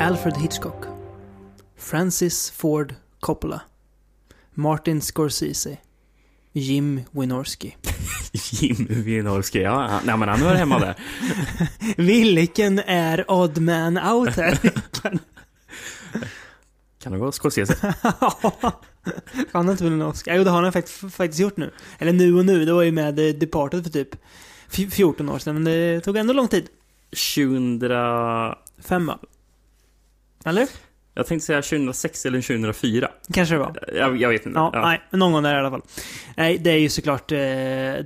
Alfred Hitchcock. Francis Ford Coppola. Martin Scorsese. Jim Wynorski. Jim Winorski, ja, han- nej men han hör hemma där. Vilken är odd man out här? Kan det vara Scorsese? han har inte vunnit en Oscar. Jo, det har han fakt- faktiskt gjort nu. Eller nu och nu, det var ju med eh, Departed för typ fj- 14 år sedan, men det tog ändå lång tid. 2000... Fem va? Eller? Jag tänkte säga 2006 eller 2004. Kanske det var. Jag, jag vet inte. Ja, nej, men någon gång där i alla fall. Nej, det är ju såklart eh,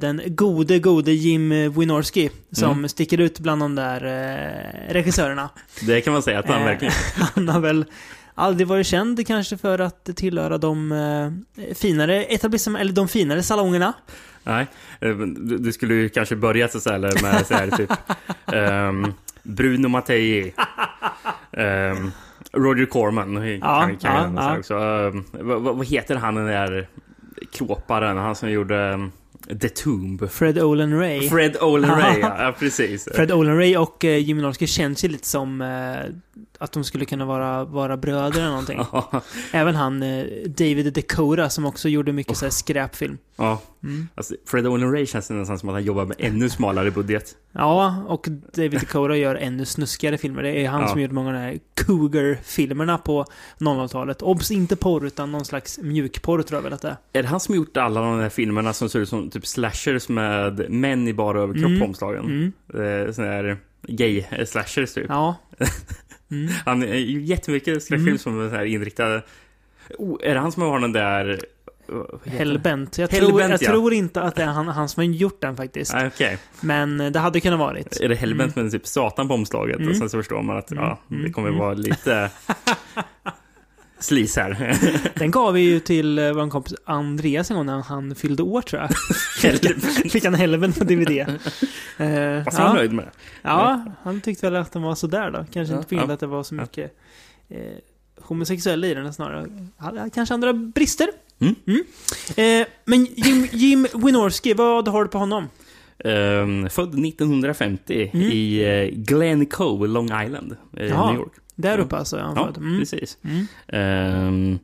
den gode, gode Jim Wynorski som Mm. sticker ut bland de där eh, regissörerna. Det kan man säga att han Eh, verkligen... Han har väl aldrig varit känd kanske för att tillhöra de eh, finare etablissemang, eller de finare salongerna. Nej, eh, men du, du skulle ju kanske börja så så här, eller med så här, typ ehm, Bruno Mattei, ehm, Roger Corman Ja, kan, kan ja, jag säga ja. också. Ehm, vad, vad- vad heter han den där klåparen, han som gjorde ehm, The Tomb? Fred Olen Ray. Fred, Fred Olen Ray, ja ja, precis. Olen Ray och eh, Jim Wynorski känns ju lite som eh, att de skulle kunna vara, vara bröder eller någonting. Ja, Även han eh, David Dakota som också gjorde mycket så här skräpfilm. ja, Mm. alltså, Fred Olen Ray känns det nästan som att han jobbar med ännu smalare budget. Ja, och David Dakota gör ännu snuskigare filmer. Det är han Ja. som gjort många av de här Cougar-filmerna på 00-talet. Obs, inte porr, utan någon slags mjukporr tror jag väl att det är. Är det han som gjort alla de här filmerna som ser ut som typ slashers med män i bara överkropp Mm. på omslagen? Mm. eh, sån här gay-slashers typ. Ja. Mm. Han är ju jättemycket skräckfilm Mm. som är så här inriktade... Oh, är det han som har den där... eh, vad heter Hellbent. Jag, tror, jag Hellbent, ja. tror inte att det är han, han som har gjort den faktiskt. den? Ah, Okej. Men eh, det hade kunnat varit. Är det Hellbent med typ Satan på omslaget? Mm. Och sen så förstår man att Mm. ja, det Mm. kommer Mm. vara lite... Slis här. Den gav vi ju till eh, vår kompis Andreas en gång när han fyllde år tror jag. Hellbent. Fick han Hellbent på DVD. Eh, Fast Alltså, han är ja. nöjd med det. ja, han tyckte väl att den var sådär då. Kanske Ja, inte på grund av ja. att det var så Ja. mycket eh, homosexuella i den snarare. Han hade Kanske andra brister. Mm. Eh, men Jim, Jim Wynorski, vad har du på honom? Ehm, född 1950 Mm. i eh, Glen Cove, Long Island, eh, Jaha. New York. Där Ja. uppe alltså, är han Ja, född. mm. precis. Mm. Ehm,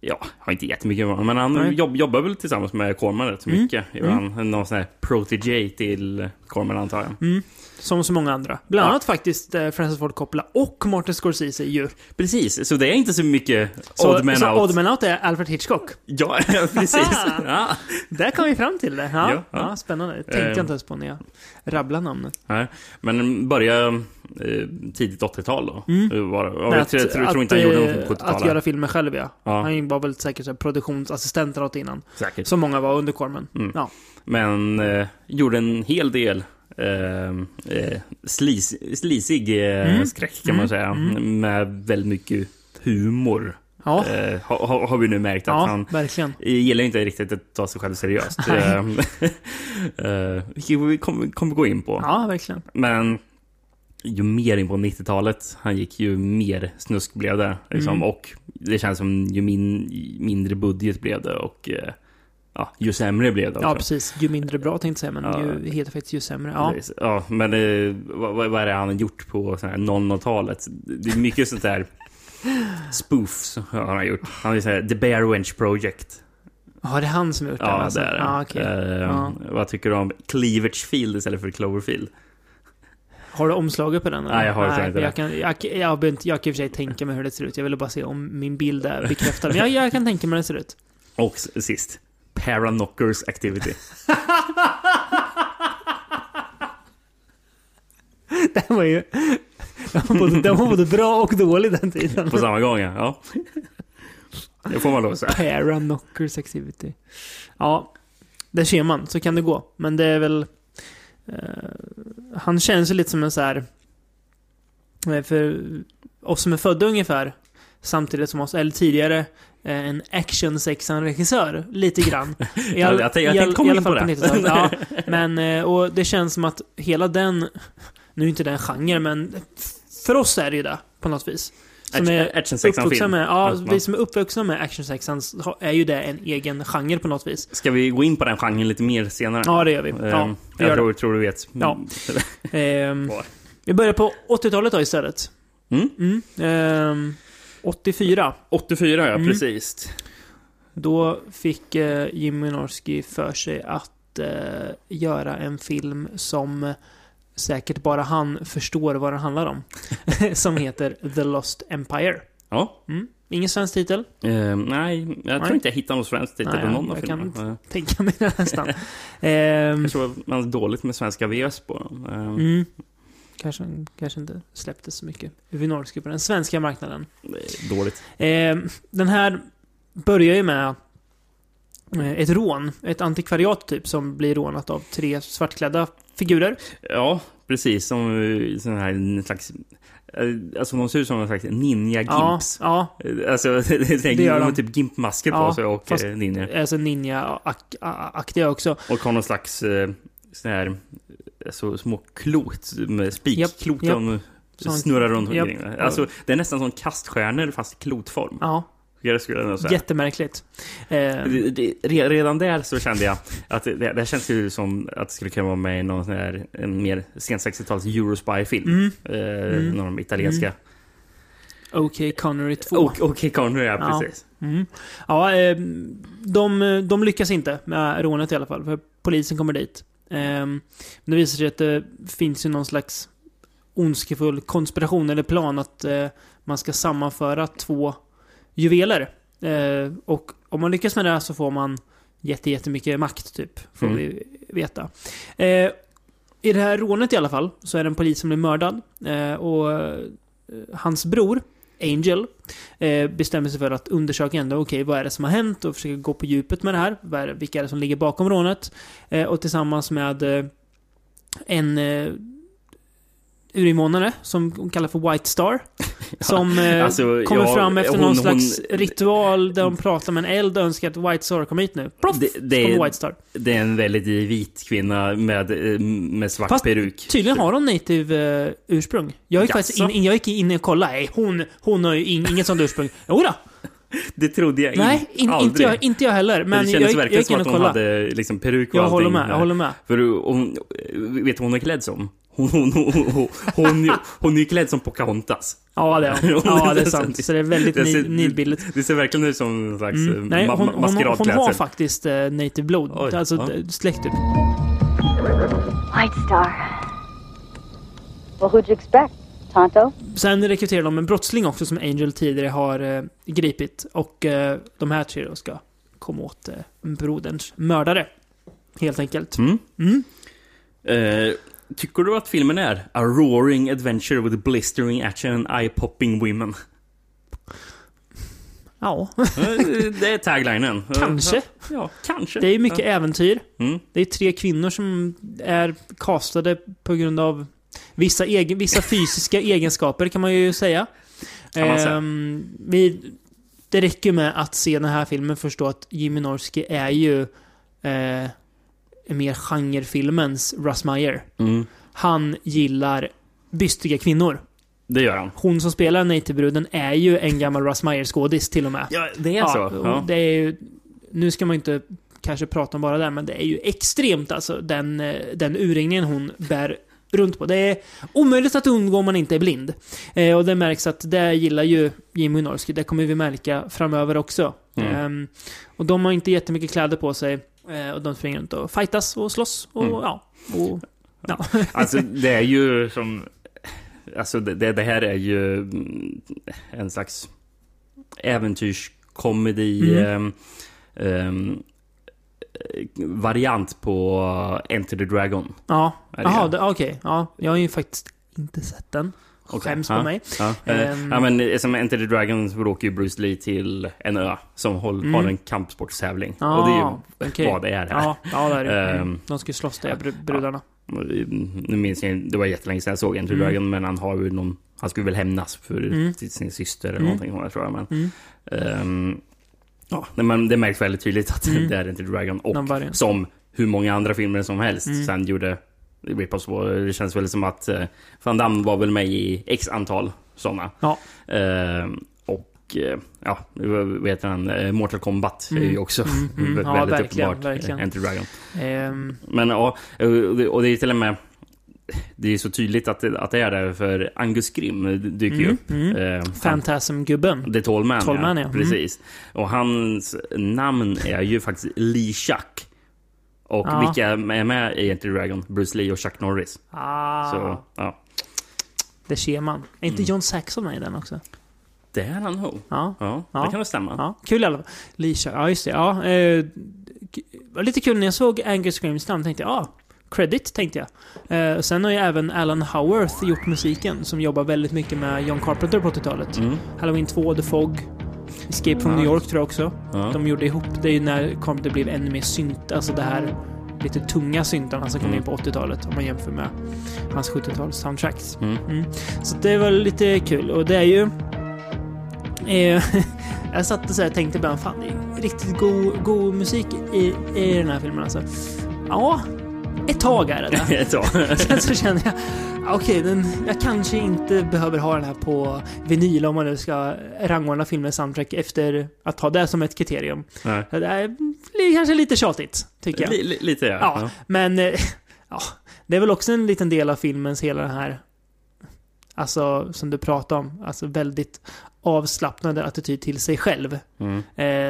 ja, har inte jättemycket med honom, men han Nej. jobb, jobbar väl tillsammans med Corman rätt så Mm. mycket. Ibland någon sån här protege till Corman antar jag. Mm. Som så många andra. Bland Ja. annat faktiskt eh, Francis Ford Coppola och Martin Scorsese ju. Precis, så det är inte så mycket Så, odd man så out. Odd Man Out är Alfred Hitchcock. Ja, precis. ja. Där kom vi fram till det. Ja, Ja, ja, ja. spännande. Det tänkte Eh. jag inte ens på när jag rabblade namnet. Nej, Men börja eh, tidigt 80-tal då. Mm. Det var- ja, Men jag tror, jag tror- jag tror inte han att, gjorde eh, någonting på Att 70-talet. göra filmer själv, ja. Ja. Han var väl säkert så här produktionsassistent eller något innan. Säkert. Som många var under Corman. Mm. Ja. Men eh, gjorde en hel del ehm, eh, slis, slisig eh, Mm. skräck kan man Mm. säga. Mm. Med väldigt mycket humor. Ja, Eh, har, har- har vi nu märkt att ja han verkligen. gillar inte riktigt att ta sig själv seriöst. Nej. Eh, eh, Vilket vi kommer kommer gå in på. Ja, verkligen. Men ju mer in på 90-talet han gick, ju mer snusk blev det. Liksom. Mm. Och det känns som ju min, mindre budget blev det och eh, ja, ju sämre blev det också. Ja, precis. Ju mindre bra tänkte jag säga, men Ja. ju heter faktiskt ju sämre. Ja. Precis. Ja, men eh, vad, vad- vad är det han har gjort på sån här 00-talet? Det är mycket sånt där spoofs har han gjort. Han är så här, The Bear Wench Project. ja, det är han som har gjort Ja, den alltså. det är det. Ja, okej. Eh, Ja. Vad tycker du om Cleavage Field istället för Cloverfield? Har du omslaget på den? eller? Nej, jag har tyvärr inte men det. jag kan, jag, kan- jag, behöver inte- jag kan i och för sig tänka mig hur det ser ut. Jag ville bara se om min bild är bekräftad. Men jag, jag kan tänka mig hur det ser ut. Och s- sist, Paranockers Activity. Det var ju... Den var, både, den var både bra och dålig den tiden. På samma gång, ja. Ja. Det får man lov att säga. Paranockers activity. Ja, där ser man. Så kan det gå. Men det är väl... Eh, han känns ju lite som en så här... eh, För oss som är födda ungefär, samtidigt som oss, eller tidigare, eh, en action-sexan-regissör. Lite grann. I Jag- jag tänkte- jag i tänkte komma i alla in på fall det. 90-talet. Ja, men, eh, och det känns som att hela den... Nu är inte den genre, men för oss är det ju det, på något vis. Som är- Action Uppvuxna sexan-film. med, ja, Alltså, man- vi som är uppvuxna med actionsexan har- är ju det en egen genre på något vis. Ska vi gå in på den genren lite mer senare? Ja, det gör vi. Eh, Ja, vi jag gör tror, tror du vet. Mm. Ja. det. Ehm, Bra. vi börjar på 80-talet då istället. Mm. Mm. Ehm, 84. 84 ja, Mm. precis. Då fick eh, Jim Minorski för sig att eh, göra en film som säkert bara han förstår vad den handlar om. som heter The Lost Empire. Ja. Mm. Ingen svensk titel, Ehm, nej, jag Nej. tror inte jag hittar någon svensk titel Nej, på någon av jag kan filmerna. inte. Eh, tänker jag mig nästan. Ehm, Jag tror man är dåligt med svenska VS på dem. Ehm, mm. kanske, kanske inte släpptes så mycket. Vinorski på den svenska marknaden. det är Dåligt. Eh, den här börjar ju med eh, ett rån. Ett antikvariat typ som blir rånat av tre svartklädda figurer. Ja, precis. Som eh, sån här en slags... eh, Alltså de ser ut som en slags Ja, ninja-gimps. ja, Eh, Alltså, det, det, gör de har de. typ gimpmasker på Ja, sig och fast- eh, ninja. alltså ninja-aktiga också. Och har någon slags eh, sån här... eh, Så små klot med spikklot Japp, de Sån- snurrar runt japp. omkring. Alltså, det är nästan som kaststjärnor fast i klotform. Ja, Jag skulle nog säga. jättemärkligt. Eh, Det- det- re- Redan där så kände jag att det, det här känns ju som att det skulle kunna vara med i någon sån här en mer sen 60-tals Eurospy-film. mm, Eh, Mm. Någon av de italienska. Okej, Connery 2. Och, och Kay Connery, ja, Ja. precis. Mm. Ja, eh, de, de lyckas inte med rånet i alla fall, för polisen kommer dit. Eh, men det visar sig att det finns ju någon slags ondskefull konspiration eller plan att eh, man ska sammanföra två juveler. Eh, och om man lyckas med det här så får man jätte, jättemycket makt, typ. Får Mm. vi veta. Eh, I det här rånet i alla fall så är det en polis som blir mördad. Eh, och eh, hans bror, Angel, eh, bestämmer sig för att undersöka ändå, okej, vad är det som har hänt och försöka gå på djupet med det här. Vad är det, vilka är det som ligger bakom rånet? Eh, och tillsammans med eh, en eh, urinvånare som kallas för White Star. Som eh, Alltså, kommer ja, fram efter hon- någon hon- slags ritual där de pratar med en eld och önskar att White Star kom hit nu. Ploff! Det, det, Kommer är, White Star. det är en väldigt vit kvinna med, eh, med svart Fast peruk. Tydligen har hon native eh, ursprung. Jag gick faktiskt in, Jaså? in, jag gick in och kollade. Nej, hon, hon har ju in, inget sånt ursprung. Jo då. Det trodde jag Nej, in, inte, aldrig. jag, inte jag heller. Men det jag, kändes gick- jag verkligen gick som in att och hon kollade. hade liksom peruk och Jag allting. håller med. Jag håller med. För hon, vet du vad hon är klädd som? Hon, hon, hon, hon, hon, hon är ju klädd som Pocahontas. Ja, det är hon. Ja, det är sant. Så det är väldigt Det ser- nid- nidbilligt. Det ser verkligen ut som en slags Mm. eh, Nej, ma- hon, ma- hon, hon maskeradklädsel. har faktiskt eh, native blod. Oj, alltså ja. d- släkt typ. White Star. Well, who'd you expect? Tonto? Sen rekryterar de en brottsling också som Angel tidigare har eh, gripit. Och eh, de här tre då ska komma åt eh, broderns mördare. Helt enkelt. Mm. Mm. Eh, tycker du att filmen är A roaring adventure with blistering action and eye-popping women? Ja, Eh, det är taglinen. Eh, kanske. Ja, kanske. Det är ju mycket äventyr. Mm. Det är tre kvinnor som är castade på grund av vissa, egen, vissa fysiska egenskaper kan man ju säga. Kan man säga. Ehm, vi, det räcker med att se den här filmen för att förstå att Jimmy Norski är ju eh, mer genrefilmens Russ Meyer. Mm. Han gillar bystiga kvinnor. Det gör han. Hon som spelar Native-bruden är ju en gammal Russ Meyer-skådis till och med. Ja, det är så. och Ja. Det är ju, nu ska man inte kanske prata om bara det, men det är ju extremt alltså den, eh, den urringningen hon bär runt på. Det är omöjligt att undgå om man inte är blind. Eh, och det märks att det gillar ju Jimmy Norski. Det kommer vi märka framöver också. Mm. Ehm, och de har inte jättemycket kläder på sig. Eh, och de springer runt och fightas och slåss. Och, Mm. ja, och, ja. Alltså, det är ju som... Alltså, det, det- det här är ju mm, en slags äventyrskomedi. Mm. ehm, ehm, eh, variant på Enter the Dragon. ja. Är det Jaha, jag? det- okej. Ja, jag har ju faktiskt inte sett den. Okej, Skäms ja. på mig. Ja, eh, Ehm. ja men eh, som Enter the Dragon så åker ju Bruce Lee till en ö som håll, Mm. har en kampsportstävling. Ja, Och det är ju okej. vad det är här. Ja, ja det är det. Ehm. Mm. De ska ju slåss där, br- brudarna. Mm, Nu minns jag inte- det var jättelänge sedan jag såg Enter the Mm. Dragon, men han har ju någon, han skulle väl hämnas för Mm. till sin syster eller Mm. någonting jag tror jag. Men, Mm. ehm, ja, nej, men det märks väldigt tydligt att Mm. det är Enter the Dragon. Och Någon variant. som hur många andra filmer som helst Mm. sen gjorde Rippers på. Det känns väl som att eh, Van Damme var väl med i x antal sådana. Ja. Eh, och eh, ja, vad heter han? Eh, Mortal Kombat är ju Mm. också Mm, mm. Ja, väldigt verkligen, uppenbart. eh, verkligen. Enter Dragon. Ehm, Men ja, och det och det är till och med det är så tydligt att det, att det är det, för Angus Grimm dyker ju Mm, upp. mm. Eh, han- Fantasm-gubben. Det är Tolman, Tolman, ja. ja. Mm. Precis. Och hans namn är ju faktiskt Lee Chuck. Och Ja. vilka är med i Enter Dragon? Bruce Lee och Chuck Norris. Ah, Så, Mm. ja. Det ser man. Är inte John Saxon med i den också? Det är han nog. Ja. Ja, Ja. det kan väl stämma. ja. Kul i alla fall. Leisha, ja just det. Ja, eh, k- var lite kul när jag såg Angus Grimms namn tänkte jag, ja, credit tänkte jag. Eh, sen har ju även Alan Howarth gjort musiken som jobbar väldigt mycket med John Carpenter på 80-talet. Mm. Halloween 2, The Fog, Escape from Ja. New York tror jag också. Ja. De gjorde ihop, det är ju när Carpenter blev ännu mer synt, alltså det här lite tunga syntarna som kom Mm. in på 80-talet om man jämför med hans 70-tals soundtracks. Mm. Så det var lite kul och det är ju... Eh, jag satt och så här tänkte ibland, fan det är riktigt god, god musik i, i den här filmen alltså. Ja, ett tag är det det. Så. Sen så känner jag, okej, den- jag kanske inte behöver ha den här på vinyl om man nu ska rangordna filmens soundtrack efter att ha det som ett kriterium. Nej. Det är li- kanske lite tjatigt, tycker jag. Li- li- lite ja. Ja. Men, eh, ja, det är väl också en liten del av filmens hela den här, alltså som du pratade om, alltså väldigt avslappnade attityd till sig själv. Ja. Mm.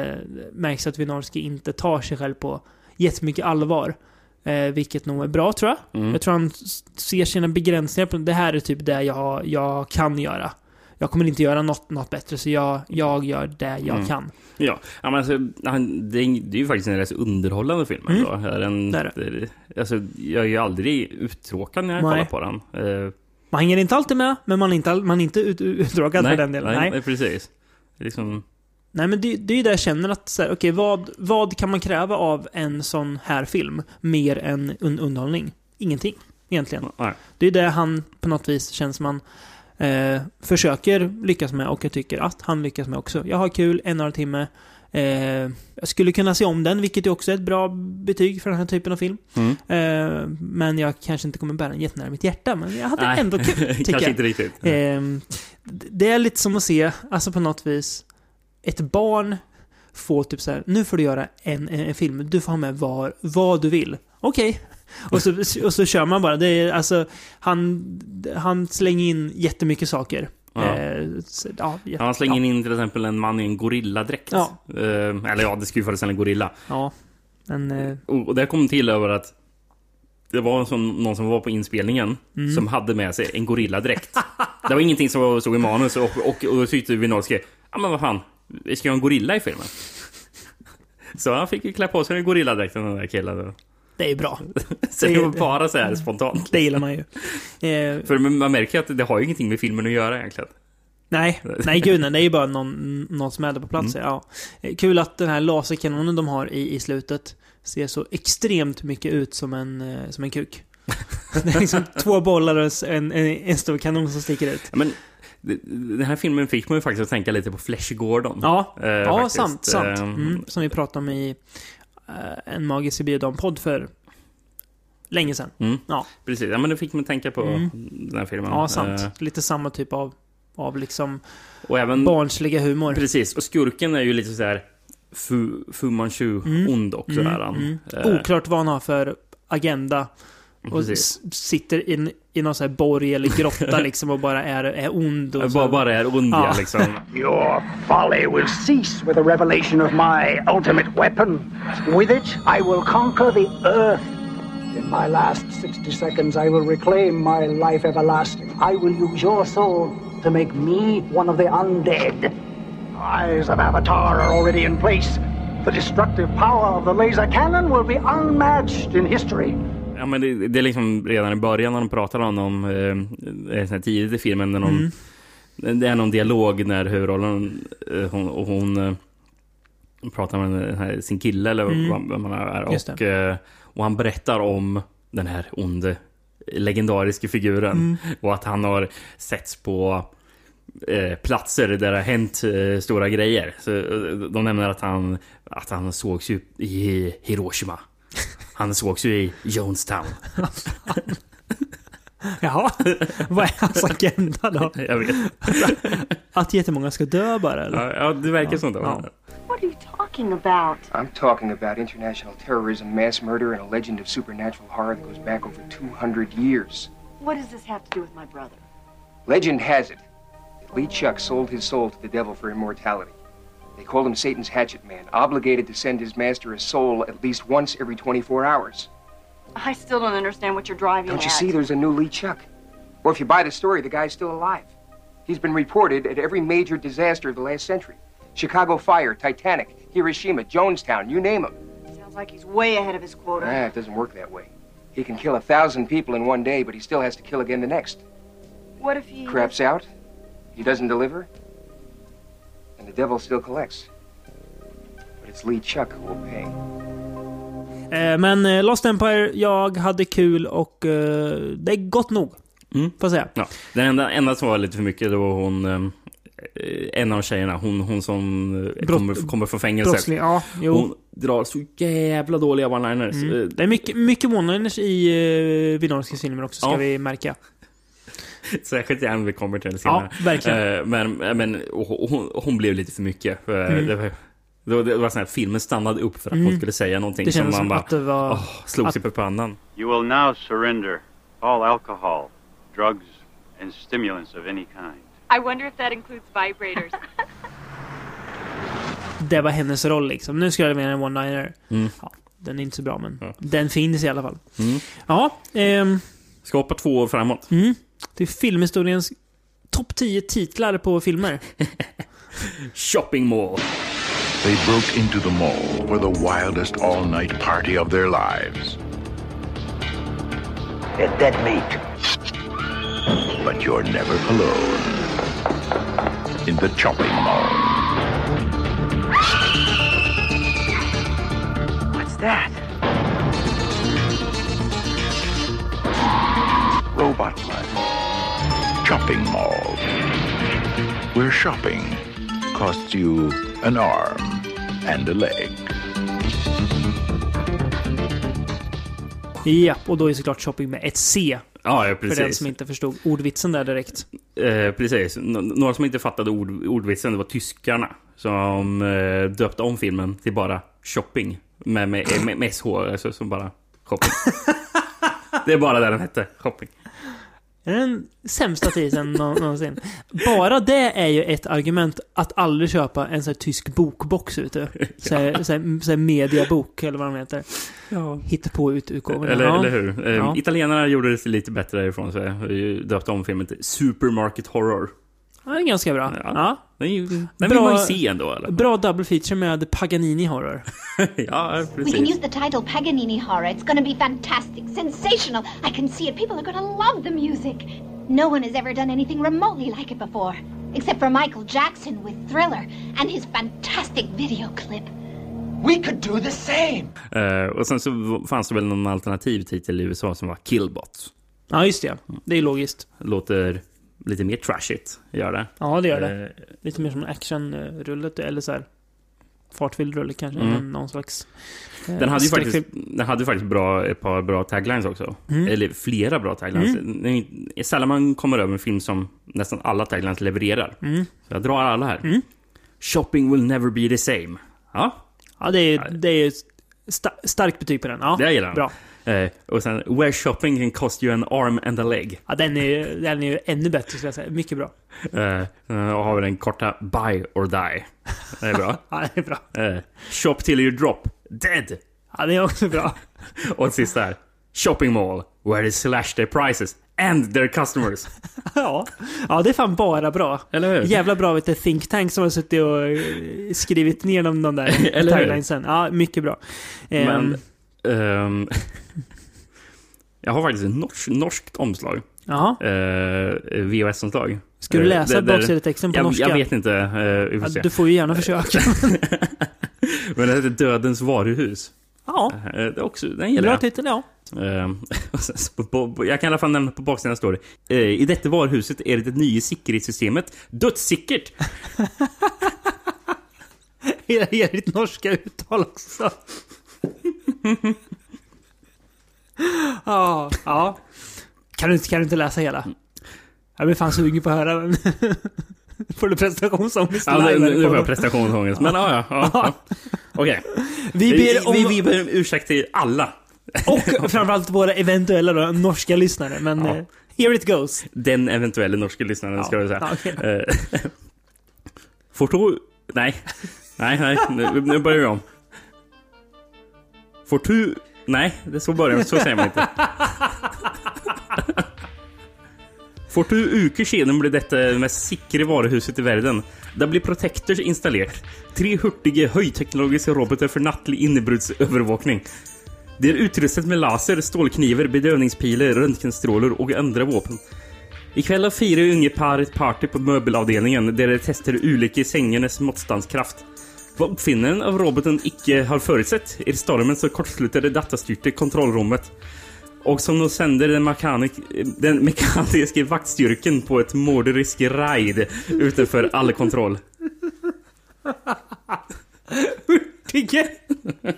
Eh, märks att Winorski inte tar sig själv på jättemycket allvar. Eh, vilket nog är bra tror jag. Mm. Jag tror han s- ser sina begränsningar. På, det här är typ det jag, jag kan göra. Jag kommer inte göra något, något bättre, så jag, jag gör det jag Mm. kan. Ja, ja men alltså, han, det, är, det är ju faktiskt en rätt så underhållande film. Mm. ändå. Den, Det är Alltså, jag är ju aldrig uttråkad när jag Nej. kollar på den. Eh, Man hänger inte alltid med, men man är inte, all- man är inte ut, uttråkad för den delen. Nej, Nej, nej. nej precis. Det är Liksom, men det, det är ju det jag känner att, så här, okej, vad, vad kan man kräva av en sån här film mer än un, underhållning? Ingenting, egentligen. nej. Det är det han på något vis känns man eh, försöker lyckas med och jag tycker att han lyckas med också. Jag har kul en och en halv timme. Eh, jag skulle kunna se om den, vilket ju också är ett bra betyg för den här typen av film. Mm. Eh, men jag kanske inte kommer bära den jättenära mitt hjärta, men jag hade Nej. ändå kul. Kanske jag. inte riktigt. Ehm, d- det är lite som att se, alltså på något vis, ett barn får typ så här, nu får du göra en, en, en film, du får ha med var, vad du vill. Okej. Och, så, och så kör man bara. Det är, alltså, han, han slänger in jättemycket saker. Ja. Eh, så, ja, Ja, Han slänger in till exempel en man i en gorilladräkt. Ja. Eh, eller ja, det skulle ju föreställa en gorilla. Ja. Men, eh, Och, och det kom till över att det var en som, någon som var på inspelningen Mm. som hade med sig en gorilladräkt. det var ingenting som stod i manus och, och, och då tyckte Winowski, ja "Ah, men vad fan, vi ska ju ha en gorilla i filmen. Så han fick ju klä på sig en gorilladräkt den där killen. det är bra. Så det var bara så här spontant. Det gillar man ju. Eh, För man märker ju att det har ju ingenting med filmen att göra egentligen. Nej, nej gud nej, det är ju bara någon, någon som är där på plats. Ja. Eh, Kul att den här laserkanonen de har i, i slutet ser så extremt mycket ut som en, eh, som en kuk. det är liksom två bollar och en s- en, en, en stor kanon som sticker ut. Ja, Men det- den här filmen fick man ju faktiskt att tänka lite på Flash Gordon. Ja, Eh, ja faktiskt. sant, sant. Eh, Mm, som vi pratade om i eh, en magisk biodom-podd för länge sedan. Mm. Ja. Precis, ja, men det fick man tänka på Mm. den här filmen. Ja, sant. Eh, Lite samma typ av, av liksom och även, barnsliga humor. precis, och skurken är ju lite så här Fu, Fu Mm. Manchu-ond också. Mm, är han. mm. Eh, Mm, Oklart vad han har för agenda. Och precis. s- sitter in, i någon sån här borg eller grotta liksom och bara är, är ond. Och så. Bara, bara är ond, ja. Ja. liksom. Your folly will cease with the revelation of my ultimate weapon. With it, I will conquer the earth. In my last 60 seconds, I will reclaim my life everlasting. I will use your soul to make me one of the undead. Eyes of Avatar are already in place. The destructive power of the laser cannon will be unmatched in history. Ja, men det, det är liksom redan i början när de pratar om dem, eh, eh, sån här tidigt i filmen, när de, det är någon dialog när huvudrollen, eh, hon, och hon eh, pratar med den här, sin kille eller vad, vad man är, Just och, eh, och han berättar om den här onde, legendariska figuren och att han har setts på eh, platser där det har hänt eh, stora grejer. Så, eh, de nämner att han, att han sågs ju i Hiroshima. Han sågs ju i Jonestown. Jaha, vad är hans agenda då? Jag vet. Att jättemånga ska dö bara eller? Ja, ja, det verkar sånt. där. ja. What are you talking about? I'm talking about international terrorism, mass murder, and a legend of supernatural horror that goes back over 200 years. What does this have to do with my brother? Legend has it that Lee Chuck sold his soul to the devil for immortality. They called him Satan's Hatchet Man, obligated to send his master a soul at least once every 24 hours. I still don't understand what you're driving Don't at. you see? There's a new Lee Chuck. Or if you buy the story, the guy's still alive. He's been reported at every major disaster of the last century Chicago Fire, Titanic, Hiroshima, Jonestown, you name them. Sounds like he's way ahead of his quota. Ah, it doesn't work that way. He can kill a thousand people in one day, but he still has to kill again the next. What if he Craps out, he doesn't deliver, and the devil still collects. But it's Lee Chuck who will pay. Eh, men eh, Lost Empire, jag hade kul och eh, det är gott nog. Mm. Får jag säga. Ja, den enda, enda som var lite för mycket det var hon, eh, en av tjejerna, hon, hon som eh, Brott- kommer, kommer från fängelset. Brottsling, ja. Jo. Mm. Hon drar så jävla dåliga one-liners. Eh, Det är mycket, mycket one-liners i uh, Vinoriska filmer också, ska Ja. vi märka. Särskilt den vi kommer till senare. Ja, verkligen. Eh, men eh, men och, och hon, hon blev lite för mycket. Eh, Mm. Det, var- det var, det var sån här, filmen stannade upp för att hon skulle säga någonting det som man kändes som bara att det var... åh, slog sig på pannan. You will now surrender all alcohol, drugs, and stimulants of any kind. I wonder if that includes vibrators. Det var hennes roll liksom. Nu ska jag med en one-liner. Ja, den är inte så bra, men Mm. Ja. Mm. den finns i alla fall. Ja, ehm, Ska hoppa två år framåt. Mm. det är filmhistoriens topp 10 titlar på filmer. Shopping mall. They broke into the mall for the wildest all night party of their lives. They're dead meat. But you're never alone. In the chopping mall, What's that? robot blood. Chopping mall. Where shopping costs you an arm and a leg. Ja, och då är såklart shopping med ett C. Ja, ja, För den precis. som inte förstod ordvitsen där direkt. Eh, precis. N- några som inte fattade ord, ordvitsen det var tyskarna som eh, döpte om filmen till bara shopping. Med, med, med, med SH, alltså som bara shopping. det är bara det den hette, shopping. Det är den sämsta titeln nå- någonsin. Bara det är ju ett argument att aldrig köpa en sån här tysk bokbox ute. Så här, så här, så här mediabok eller vad de heter. Ja. Hitta på ut utgåvorna. Eller, ja. eller hur? Eh, Ja. Italienarna gjorde det lite bättre ifrån sig. Eh, Döpte om filmen till Supermarket Horror. Ja, det är ganska bra. Ja. Ja. Den, är ju- den vill Bra- man ju se ändå, eller? Bra double feature med Paganini Horror. ja, We can use precis. the title Paganini Horror. It's going to be fantastic, sensational. I can see it. People are going to love the music. No one has ever done anything remotely like it before, except for Michael Jackson with Thriller and his fantastic video clip. We could do the same. Eh, och sen så v- fanns det väl någon alternativ titel i USA som var Killbot. Ja, just det. Det är logiskt. Låter lite mer trashigt, gör det. Ja, det gör det. Eh, Lite mer som actionrullet, eh, eller så här fartfylld rulle kanske. Mm. än Någon slags... eh, Den hade ju skräckfilm. faktiskt, den hade ju faktiskt bra, ett par bra taglines också. Eller flera bra taglines. Det är ju- Sällan man kommer över en film som nästan alla taglines levererar. Så jag drar alla här. Shopping will never be the same. Ja, Ja, det är, det är sta starkt betyg på den. Ja, det gillar jag. bra. Eh, och sen, where shopping can cost you an arm and a leg. Ja, den är ju den är ju ännu bättre skulle jag säga. Mycket bra. Eh, och har vi den korta, buy or die. Det är bra. Ja, det är bra. Eh, shop till you drop, dead. Ja, det är också bra. Och sista här, shopping mall, where they slash their prices and their customers. Ja, ja det är fan bara bra. Eller hur? Jävla bra vet du, think tank som har suttit och eh, skrivit ner de, de där Eller hur? taglinesen. Ja, mycket bra. Ehm, Men, ehm, jag har faktiskt ett norsk, norskt omslag. Jaha. Eh, VHS-omslag. Ska du Eh, läsa det- det- baksidetexten på jag, norska? Jag vet inte. eh, vi får Ja, se. du får ju gärna försöka. Men det heter Dödens varuhus. Ja, Eh, det är också, den gillar bra jag. titel ja. Ehm, och sen så på- på- jag kan i alla fall nämna på baksidan står det. eh, I detta varuhuset är det det nya säkerhetssystemet dödssäkert. Hela hela ditt norska uttal också. ja, ja. Kan du, inte- kan du inte läsa hela? Jag blir fan sugen på att höra den. Får du prestationsångest Ja, nu, live när nu det får jag kommer? prestationsångest. Men ja, ja. ja, ja. Okej. Vi ber om... Vi, vi ber om ursäkt till alla. Och framförallt våra eventuella då, norska lyssnare. Men Ja. eh, Here it goes. Den eventuella norska lyssnaren ska vi säga. Ja, okej. Eh, Fortu... Nej. Nej, nej. Nu, nu börjar vi om. Fortu... Nej, det så börjar Så säger man inte. For to uker siden ble dette mest sikre varehuset i verden. Det ble Protectors installert. Tre hurtige, høyteknologiske roboter for nattlig innebruddsovervåkning. De er utrustet med laser, stålkniver, bedøvningspiler, røntgenstråler og andre våpen. I kveld har fire unge par et party på møbelavdelingen der de tester ulike sengenes motstandskraft. Hva oppfinneren av roboten ikke har forutsett, er stormen som kortslutter det datastyrte kontrollrommet. Och som då sänder den, mekanik- den mekaniska vaktstyrkan på ett morderisk raid utanför all kontroll. Tigge!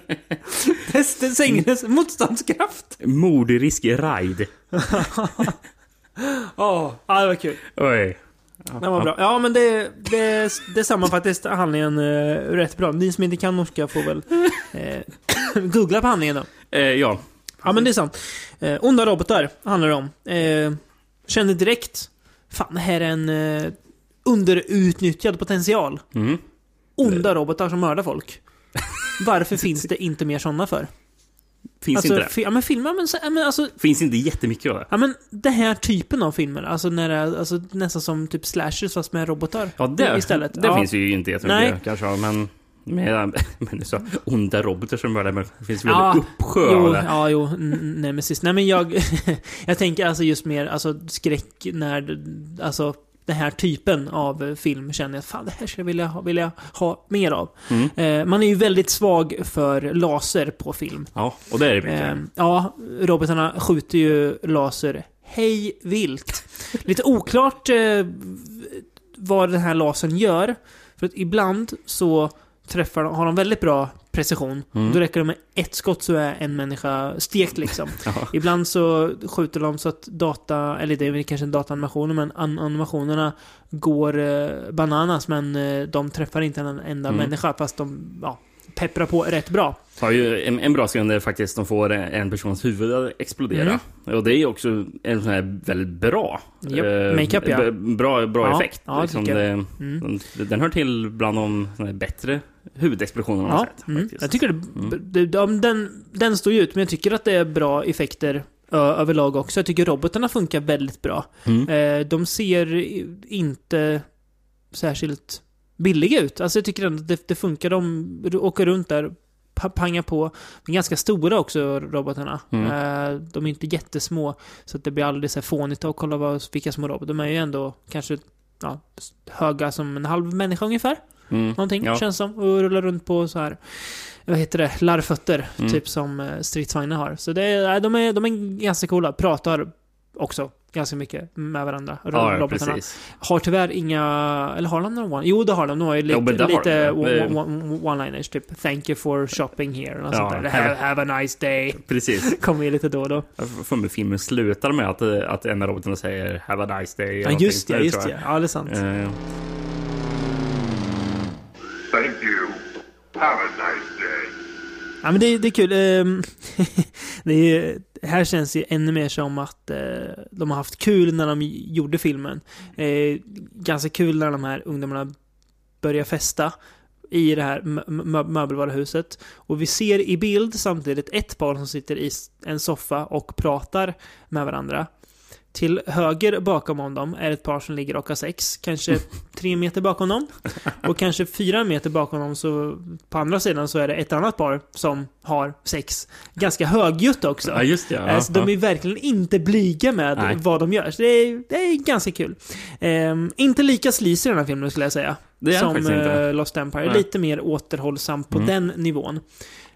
Testa sängens motståndskraft. Morderisk raid. Åh, ja, det var kul. Oj. Det var bra. Ja, men det, det, det sammanfattar handlingen eh, rätt bra. Ni som inte kan norska får väl eh, googla på handlingen då. Eh, ja. Ja, men det är sant. Eh, onda robotar handlar det om. Eh, kände direkt, fan det här är en eh, underutnyttjad potential. Mm. Onda robotar som mördar folk. Varför finns det inte mer sådana för? Finns alltså, inte det. fi- ja, men filmer, men, så- ja, men alltså Finns inte jättemycket av det. Ja men den här typen av filmer, alltså, när det, är- alltså nästan som typ slashers fast med robotar Ja, det, istället. det ja. finns ju inte jättemycket Nej. kanske. Men, men, men du sa onda robotar som mördar människor. Det finns väl Ja. en uppsjö Jo, av det. ja, jo, n- n- nemesis. Nej men jag, jag tänker alltså just mer alltså, skräck när, det- alltså den här typen av eh, film känner jag fan det här skulle jag vilja ha, vill jag ha mer av. Mm. Eh, man är ju väldigt svag för laser på film. Ja, och det är det mycket. Eh, ja, robotarna skjuter ju laser hej vilt. Lite oklart eh, vad den här lasern gör. För att ibland så träffar de, har de väldigt bra precision. Mm. Då räcker det med ett skott så är en människa stekt liksom. Ja. Ibland så skjuter de så att data, eller det är väl kanske en dataanimation, men an- animationerna går eh, bananas men eh, de träffar inte en enda Mm. människa fast de ja, pepprar på rätt bra. har ju en, en bra sekund där faktiskt de får en, en persons huvud att explodera. Och det är ju också en sån här väldigt bra... Mm. Japp, makeup, ja. b- Bra, bra Ja, effekt. ja, det liksom tycker det, jag. Mm. den- Den hör till bland de såna här bättre huvudexplosioner man har Ja, sett. mm. faktiskt. jag tycker det, det, de- den, den står ju ut, men jag tycker att det är bra effekter ö, överlag också. Jag tycker robotarna funkar väldigt bra. Mm. Eh, de ser i- inte särskilt billiga ut. Alltså jag tycker ändå att det, det funkar. De r- åker runt där, pa- pangar på. De är ganska stora också, robotarna. Mm. Eh, de är inte jättesmå, så att det blir aldrig så här fånigt att kolla vad, vilka små robotar. De är ju ändå kanske ja, s- höga som en halv människa ungefär. Mm. Någonting Ja. känns som. Och rullar runt på så här. Vad heter det? Larvfötter. Mm. Typ som eh, stridsvagnar har. Så det är, nej, de, är, de är ganska coola. Pratar också ganska mycket med varandra. Ja, ja, robotarna. precis. Har tyvärr inga... Eller har de några one... Jo, det har de. De har ju lite, Jo, men det har lite de. Det- one- one- one-liners. Typ “Thank you for shopping here” och Ja, sånt där. Have, have- “Have a nice day” Precis. kommer ju lite då och då. Jag får för mig filmen slutar med att, eh, att en av robotarna säger “Have a nice day”. eller Ja, just någonting. det. Just tror jag. det. Ja, det är sant. Eh, Thank you. Have a nice day. Ja, men det, det är kul. Ehm, det är, ju- här känns det ju ännu mer som att eh, de har haft kul när de gjorde filmen. Eh, ganska kul när de här ungdomarna börjar festa i det här mö- mö- möbelvaruhuset. Och vi ser i bild samtidigt ett par som sitter i s- en soffa och pratar med varandra. Till höger bakom om dem är ett par som ligger och har sex. Kanske tre meter bakom dem. Och kanske fyra meter bakom dem så på andra sidan så är det ett annat par som har sex. Ganska högljutt också. Ja, just det. Ja, Alltså, de är verkligen inte blyga med Nej. vad de gör. Så det är, det är ganska kul. Ehm, inte lika sleazy i den här filmen skulle jag säga. Det är han som faktiskt inte. eh, Lost Empire. Nej. Lite mer återhållsam på Mm. den nivån.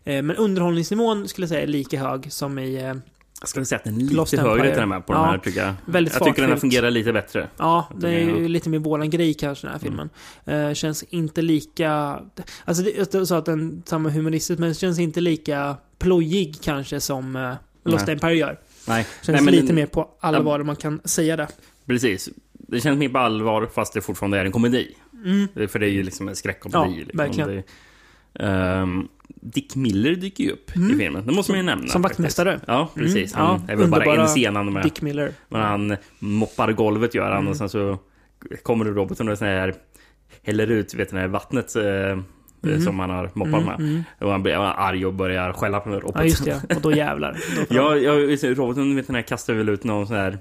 Eh, men underhållningsnivån skulle jag säga är lika hög som i... eh, ja. Ska vi säga att den är lite Lost högre Empire. till och med på Ja, den här tycker jag. väldigt jag tycker den här fartfyllt. fungerar lite bättre. Ja, Att det är den är- ju lite mer våran grej kanske den här filmen. Mm. Eh, känns inte lika... Alltså det, jag sa att den samma humoristisk, men den känns inte lika plojig kanske som eh, Lost Nej. Empire gör. Nej. Känns Nej, men lite den- mer på allvar om man kan säga det. Precis. Det känns mer på allvar fast det fortfarande är en komedi. För det är ju liksom en skräckkomedi. Mm. Ja, liksom. verkligen. Det, ehm, Dick Miller dyker ju upp i filmen. Det måste man ju nämna. Mm. Som faktiskt. vaktmästare. Ja, precis. Mm, Han ja, är väl bara underbara en scen han är med. Dick Miller. Men han moppar golvet gör han Mm. och sen så kommer roboten och sån här häller ut vet, ni, det här vattnet eh, Mm-hmm. som han har moppat med. Och han blir arg och börjar skälla på den här roboten. Ja, just det. Och då jävlar. Då får Ja, han- ja just det. roboten vet den här, kastar väl ut någon sån här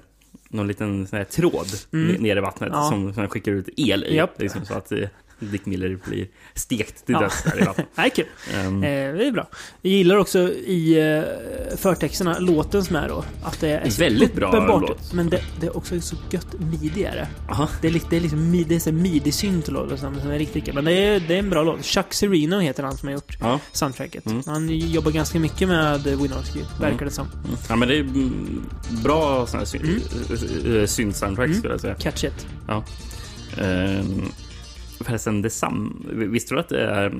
någon liten sån här tråd ne- ner i vattnet Mm. Ja. som, som skickar ut el i. Japp. Liksom, så att eh, Dick Miller blir stekt till Ja. döds där i vattnet. Nej, kul. Ehm, Eh, det är bra. Jag gillar också i eh, förtexterna låten som är då. Att det är så Väldigt bra uppenbart, låt. Men det, det är också så gött midi är det. aha. Det är, li- det är liksom midi, det är midi-synt låt och sånt, som är riktigt kul. Men det är, det är en bra låt. Chuck Sereno heter han som har gjort Ja. Mm. soundtracket. Han jobbar ganska mycket med Winorski, verkar det som. ja, men det är mm, bra sån här syn, Mm. eh, synt-soundtrack skulle jag säga. Catchigt. Ja. Ehm, förresten, det sam visste du att det är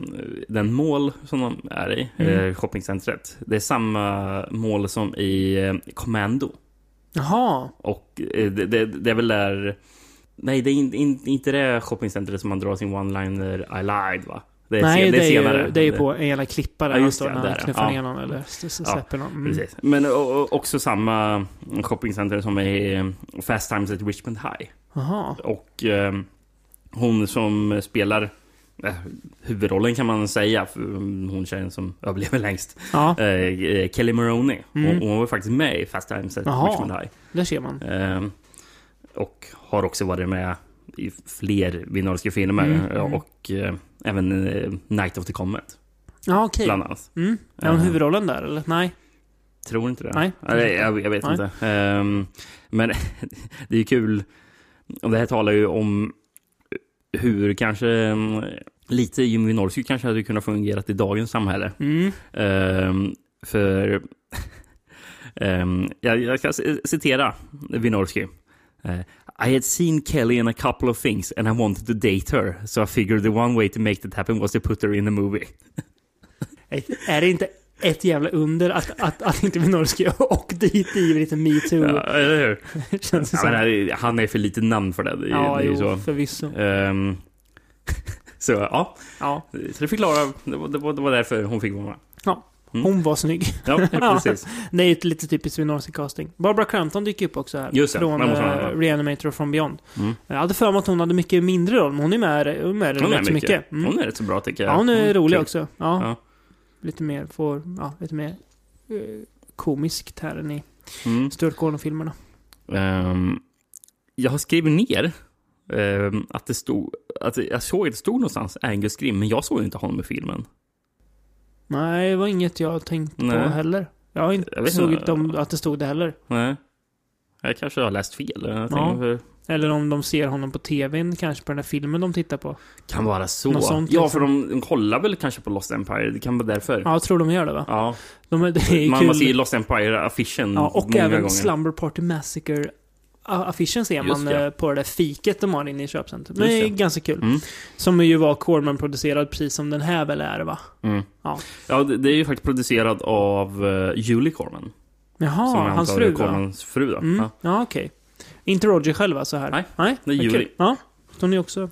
den mål som de är i, Mm. eh, shoppingcentret, det är samma mål som i eh, Commando. Jaha. Och eh, det, det, det är väl där... Nej, det är in, in, inte det shoppingcentret som man drar sin one-liner I lied, va? Det är, Nej, sen- det, är senare. ju, det är ju på en jävla klippa där Ja, han just står det, när han där, knuffar ja. ner någon eller s- s- Ja, släpper någon. Mm. Precis. Men och, och, också samma shoppingcenter som är eh, Fast Times at Richmond High. Jaha. Och eh, hon som spelar eh, huvudrollen kan man säga, för hon tjejen som överlever längst, Ja, eh, eh, Kelly Maroney. Hon, hon var faktiskt med i Fast Times at Jaha. Richmond High. där ser man. Ehm, och har också varit med i fler binariska filmer ja, och eh, även eh, Night of the Comet Ja, okej. bland annat. Mm. Är hon Eh. huvudrollen där eller? Nej. Tror inte det. Nej, Eller, jag, jag vet Nej. inte. Ehm, men det är ju kul. Och det här talar ju om hur kanske mm, lite Jimmy Norrsky kanske hade kunnat fungera i dagens samhälle. Mm. Ehm, för ehm, jag, jag ska c- citera Winorski. Eh, I had seen Kelly in a couple of things and I wanted to date her. So I figured the one way to make that happen was to put her in a movie. Är det inte ett jävla under att, att, att inte Minorski och dit i lite metoo? Ja, eller hur? Känns det Ja, som. men, eh, han är för lite namn för det. det, är- ja, det är ju jo, så. förvisso. Ehm, så ja, Ja. så det förklarar. Det var, det var, det var därför hon fick vara med. ja. Mm. Hon var snygg. Ja, Ja. precis. Det är ju ett lite typiskt Winorski casting. Barbara Crampton dyker upp också här. Just det, från det måste man eh, ha. Reanimator och From Beyond. Mm. Jag hade för mig att hon hade mycket mindre roll, men hon är med, hon är med Hon rätt mycket. är, mycket. Mm. hon är rätt så bra tycker jag. Ja, hon är Mm, rolig kul. också. Ja. Ja. Lite mer, får, ja, lite mer eh, komiskt här än i Mm. Stuart Gordon-filmerna. Ehm, jag har skrivit ner ehm, att det stod... Att jag såg att det stod någonstans Angus Grimm, men jag såg inte honom i filmen. Nej, det var inget jag tänkte Nej. på heller. Jag har inte Jag vet såg inte. inte om att det stod det heller. Nej. Jag kanske har läst fel. Jag Ja. tänker, för- Eller om de ser honom på tvn, kanske på den här filmen de tittar på. Kan vara så. Något sånt, ja, liksom. för de, de kollar väl kanske på Lost Empire. Det kan vara därför. Ja, jag tror de gör det va? Ja. De, är- det är ju Man, kul. man ser ju Lost Empire-affischen ja, och många även gånger. Slumber Party Massacre. a- Affischen ser Just man det. eh, på det där fiket de har inne i köpcentret. Men Just det är det. ganska kul. Mm. Som ju var Corman-producerad precis som den här väl är va? Mm. Ja. Ja, det det är ju faktiskt producerad av uh, Julie Corman. Jaha, jag Ah, hans antar är fru va? Cormans fru då. Mm. Ja. Ja, okej. Inte Roger själv alltså här? Nej, Nej det är vad Julie. kul. Ja, hon är också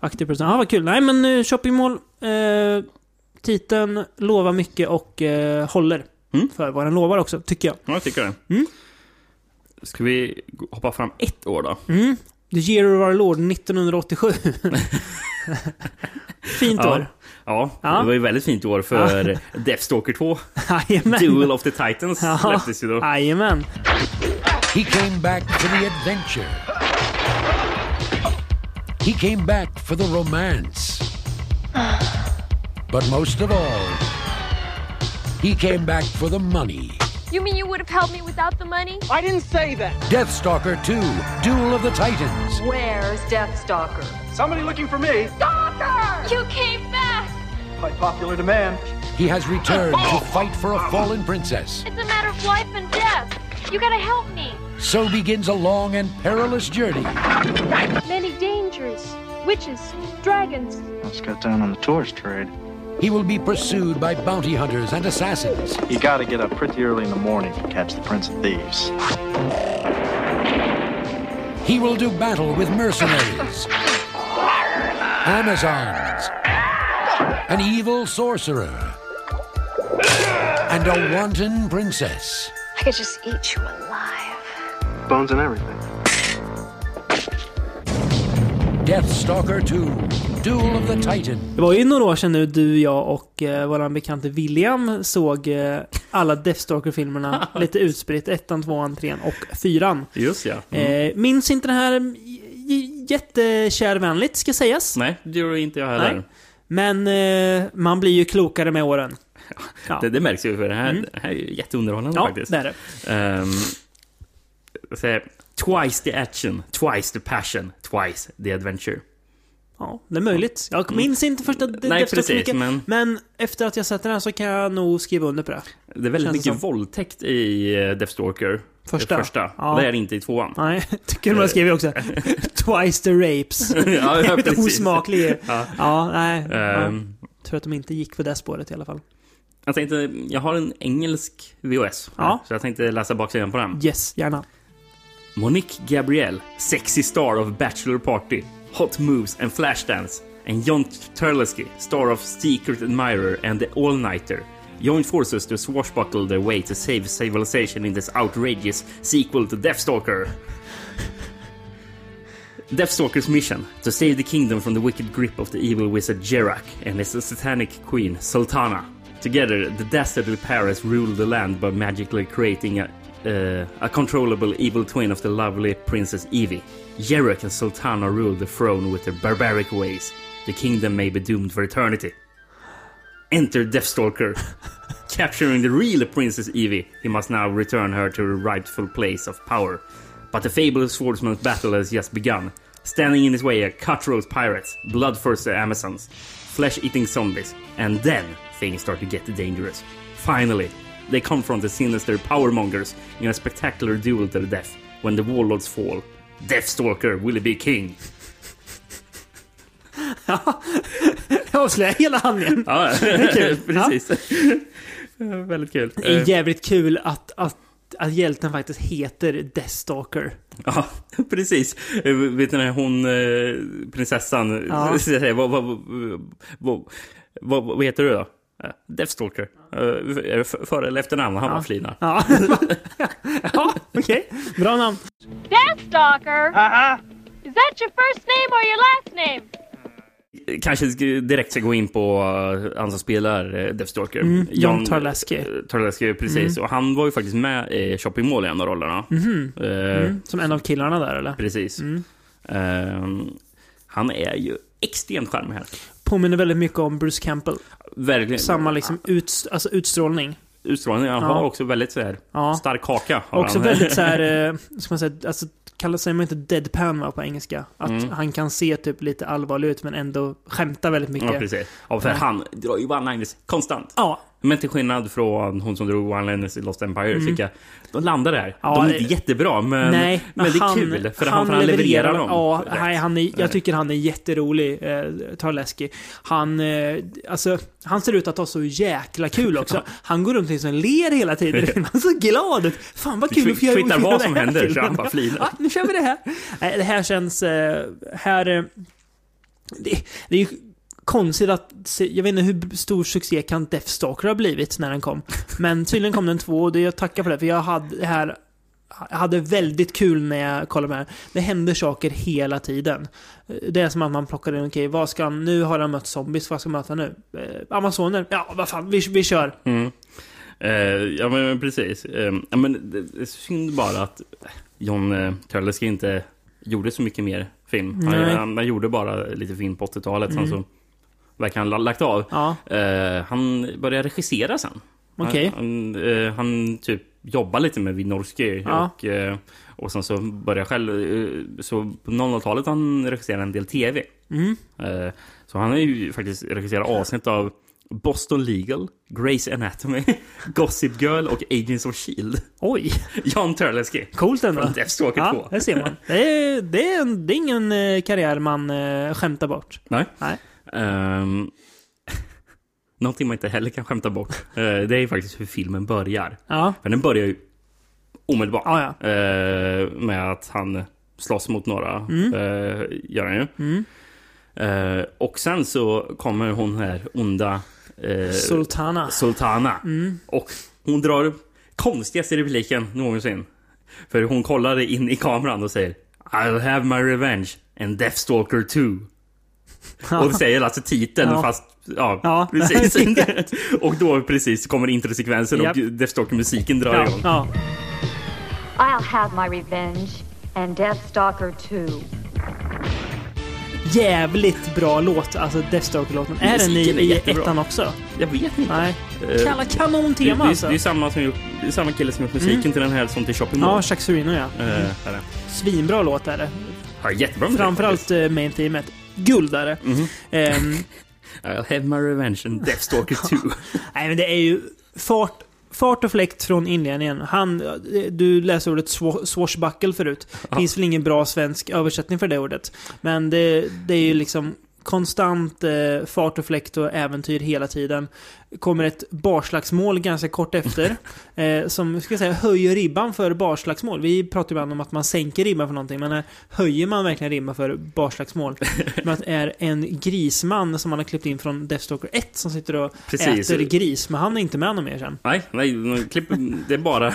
aktiv person. Ja, vad kul. Nej, men uh, shoppingmål. Eh, titeln lovar mycket och eh, håller. Mm. För vad den lovar också, tycker jag. Ja, jag tycker det. Mm. Ska vi gå- hoppa fram ett år då? Mm. The year of our Lord 1987. Fint Ja. år. Ja, Ja. det var ju väldigt fint år för Deathstalker 2. Jajamän. Duel of the Titans Ja. släpptes ju då. Jajamän. He came back for the adventure. He came back for the romance. But most of all, he came back for the money. You mean you would have helped me without the money? I didn't say that. Deathstalker 2, Duel of the Titans. Where's Deathstalker? Somebody looking for me You came back! Oh! by popular demand. He has returned to fight for a fallen princess. It's a matter of life and death. You gotta help me. So begins a long and perilous journey. Many dangers, witches, dragons. Let's cut down on the tourist trade. He will be pursued by bounty hunters and assassins. You gotta get up pretty early in the morning to catch the Prince of Thieves. He will do battle with mercenaries, Amazons, an evil sorcerer, and a wanton princess. I could just eat you alive. Bones and everything. Deathstalker 2, Duel of the Titan. Det var ju några år sedan nu du, jag och eh, våran bekante William såg eh, alla Deathstalker-filmerna lite utspritt. Ettan, tvåan, trean och fyran. Just ja. Eh, minns inte det här j- j- jättekärvänligt, ska sägas. Nej, det gjorde inte jag heller. Men eh, man blir ju klokare med åren. Ja. Mm. Det, det märks ju, för det här, det här är ju jätteunderhållande Ja, faktiskt. det är det. Ehm, så här, twice the action, twice the passion, twice the adventure. Ja, det är möjligt. Jag minns inte första d- Mm. Nej, Deathstalker precis, mycket, men- men efter att jag sett den här så kan jag nog skriva under på det. Det är väldigt Känns det mycket våldtäkt i eh, Deathstalker. Första. Första. Ja. Det är det inte i tvåan. Nej, tycker man skriver också. Twice the rapes. Eh. ja, Jävligt precis. osmaklig. Ja. Ja, nej. Ehm. Ja. Tror att de inte gick på det spåret i alla fall. Jag tänkte, jag har en engelsk VHS. här, Ja. Så jag tänkte läsa baksidan på den. Yes, gärna. Monique Gabrielle, sexy star of Bachelor Party, Hot Moves and Flashdance, and John Turleski, star of Secret Admirer and The All-Nighter, join forces to swashbuckle their way to save civilization in this outrageous sequel to Deathstalker. Deathstalker's mission to save the kingdom from the wicked grip of the evil wizard Jerak and his satanic queen Sultana. Together, the dastardly Paris rule the land by magically creating a, uh, a controllable evil twin of the lovely Princess Evie. Jerak and Sultana rule the throne with their barbaric ways. The kingdom may be doomed for eternity. Enter Deathstalker. Capturing the real Princess Evie, he must now return her to her rightful place of power. But the fabled swordsman's battle has just begun. Standing in his way are cutthroat pirates, bloodthirsty Amazons, flesh eating zombies, and then things start to get dangerous. Finally, they confront the sinister powermongers in a spectacular duel to the death. When the warlords fall, Deathstalker will be king. Jag avslöjar hela handlingen. Ja, Det är kul. Ah, precis. Väldigt kul. Eh, Det är jävligt kul att, att, att hjälten faktiskt heter Deathstalker. Ja, precis. Eh, Vet ni, när hon, eh, prinsessan, Ja. säger, vad, vad, vad, vad, vad heter du då? Eh, Deathstalker. Eh, Är det f- före eller efternamn? Han bara flinar. Ja, ja okej. Bra namn. Deathstalker? Uh-huh. Is that your first name or your last name? Kanske sk- direkt ska gå in på eh, han som spelar eh, Deathstalker. Mm, John Tarleski. Tarleski, precis. Mm. Och han var ju faktiskt med i Shopping Mall i en av rollerna. Mhm. Eh, Mm. Som en av killarna där eller? Precis. Ehm, han är ju extremt charmig här. Påminner väldigt mycket om Bruce Campbell. Verkligen. Samma liksom ut, alltså utstrålning. Utstrålningen, han Ja. har också väldigt så här, Ja. stark haka. har Också han. väldigt så här, eh, ska man säga, alltså kallar sig man inte deadpan va, på engelska? Att Mm. han kan se typ lite allvarlig ut men ändå skämta väldigt mycket. Ja, precis. Ja, för Ja. han drar ju one-liners konstant. Ja. Men till skillnad från hon som drog one-liners i Lost Empire, Mm. tycker jag, de landar där. Ja, de är det- inte jättebra, men, nej, men det är kul. För han, för han levererar dem. Ja, rätt. nej, han är, jag tycker han är jätterolig, eh, Tarleski. Han, eh, alltså, han ser ut att ha så jäkla kul också. Han går runt liksom och ler hela tiden. Han är så glad ut. Fan vad kul att få göra Kvittar vad göra som det här händer så filmen. han bara flinar. Ja, nu kör vi det här. Nej, det här känns... eh, Här... eh, Det, det är ju konstigt att... se- Jag vet inte hur stor succé kan Deathstalker ha blivit när den kom. Men tydligen kom den två och det, jag tackar för det. För jag hade det här... Jag hade väldigt kul när jag kollade med det här. Det händer saker hela tiden. Det är som att man plockar in, okej, vad ska han... Nu har han mött zombies, vad ska han möta nu? Eh, Amazoner? Ja, vad fan, vi, vi kör. Mm. Eh, ja, men men precis. Eh, ja, men det, det är synd bara att John eh, Turleski inte gjorde så mycket mer film. Han, Nej. han, han gjorde bara lite film på 80-talet, sen Mm. så verkar han ha lagt av. Ja. Eh, han började regissera sen. Okej. Han, han, eh, han typ jobbade lite med Winorski Ja. och, eh, och sen så började jag själv. eh, Så på 00-talet han regisserade en del TV. Mm. Eh, Så han har ju faktiskt regisserat avsnitt av Boston Legal, Grey's Anatomy, Gossip Girl och Agents of Shield. Oj! E John Turleski. Coolt ändå. Från Deathstalker Ja, 2. det ser man. Det är, det är, en, det är ingen eh, karriär man eh, skämtar bort. Nej. Nej. Ehm, någonting man inte heller kan skämta bort, eh, det är ju faktiskt hur filmen börjar. Ja. För den börjar ju omedelbart. Ja, Eh, med att han slåss mot några. Mm. eh, gör han ju. Mm. Eh, och sen så kommer hon här onda eh, Sultana. Sultana. Mm. Och hon drar upp konstigaste repliken någonsin. För hon kollar in i kameran och säger I'll have my revenge and Deathstalker 2. Och säger alltså titeln Ja. fast... Ja, Ja. precis. och då precis kommer introsekvensen och Japp. Deathstalker-musiken drar Ja, igång. ja. I'll have my revenge and Deathstalker too. Jävligt bra låt, alltså Deathstalker-låten. Är den i, Musiken är i jättebra. ettan också? Jag vet inte. Nej. Eh, Kalla kanontema det, det, alltså. det är samma som gjort, det är samma kille som gjort musiken Mm. till den här som till Shopping Mall. Ja, Chuck Serino ja. Eh, är det. Svinbra låt är det. Ja, jättebra musik. Framförallt eh, main teamet. Guld är det. Mhm. Ehm, I'll have my revenge and Deathstalker 2. Nej, men det är ju fart, fart och fläkt från inledningen. Han, du läste ordet swa- swashbuckle förut. Det finns väl ingen bra svensk översättning för det ordet. Men det, det är ju liksom konstant eh, fart och fläkt och äventyr hela tiden. Kommer ett barslagsmål ganska kort efter. eh, som ska jag säga, höjer ribban för barslagsmål. Vi pratar ibland om att man sänker ribban för någonting. Men här höjer man verkligen ribban för barslagsmål. Men att det är en grisman som man har klippt in från Deathstalker 1 som sitter och Precis. äter gris, men han är inte med någon mer sen. Nej, nej de klipp, det är bara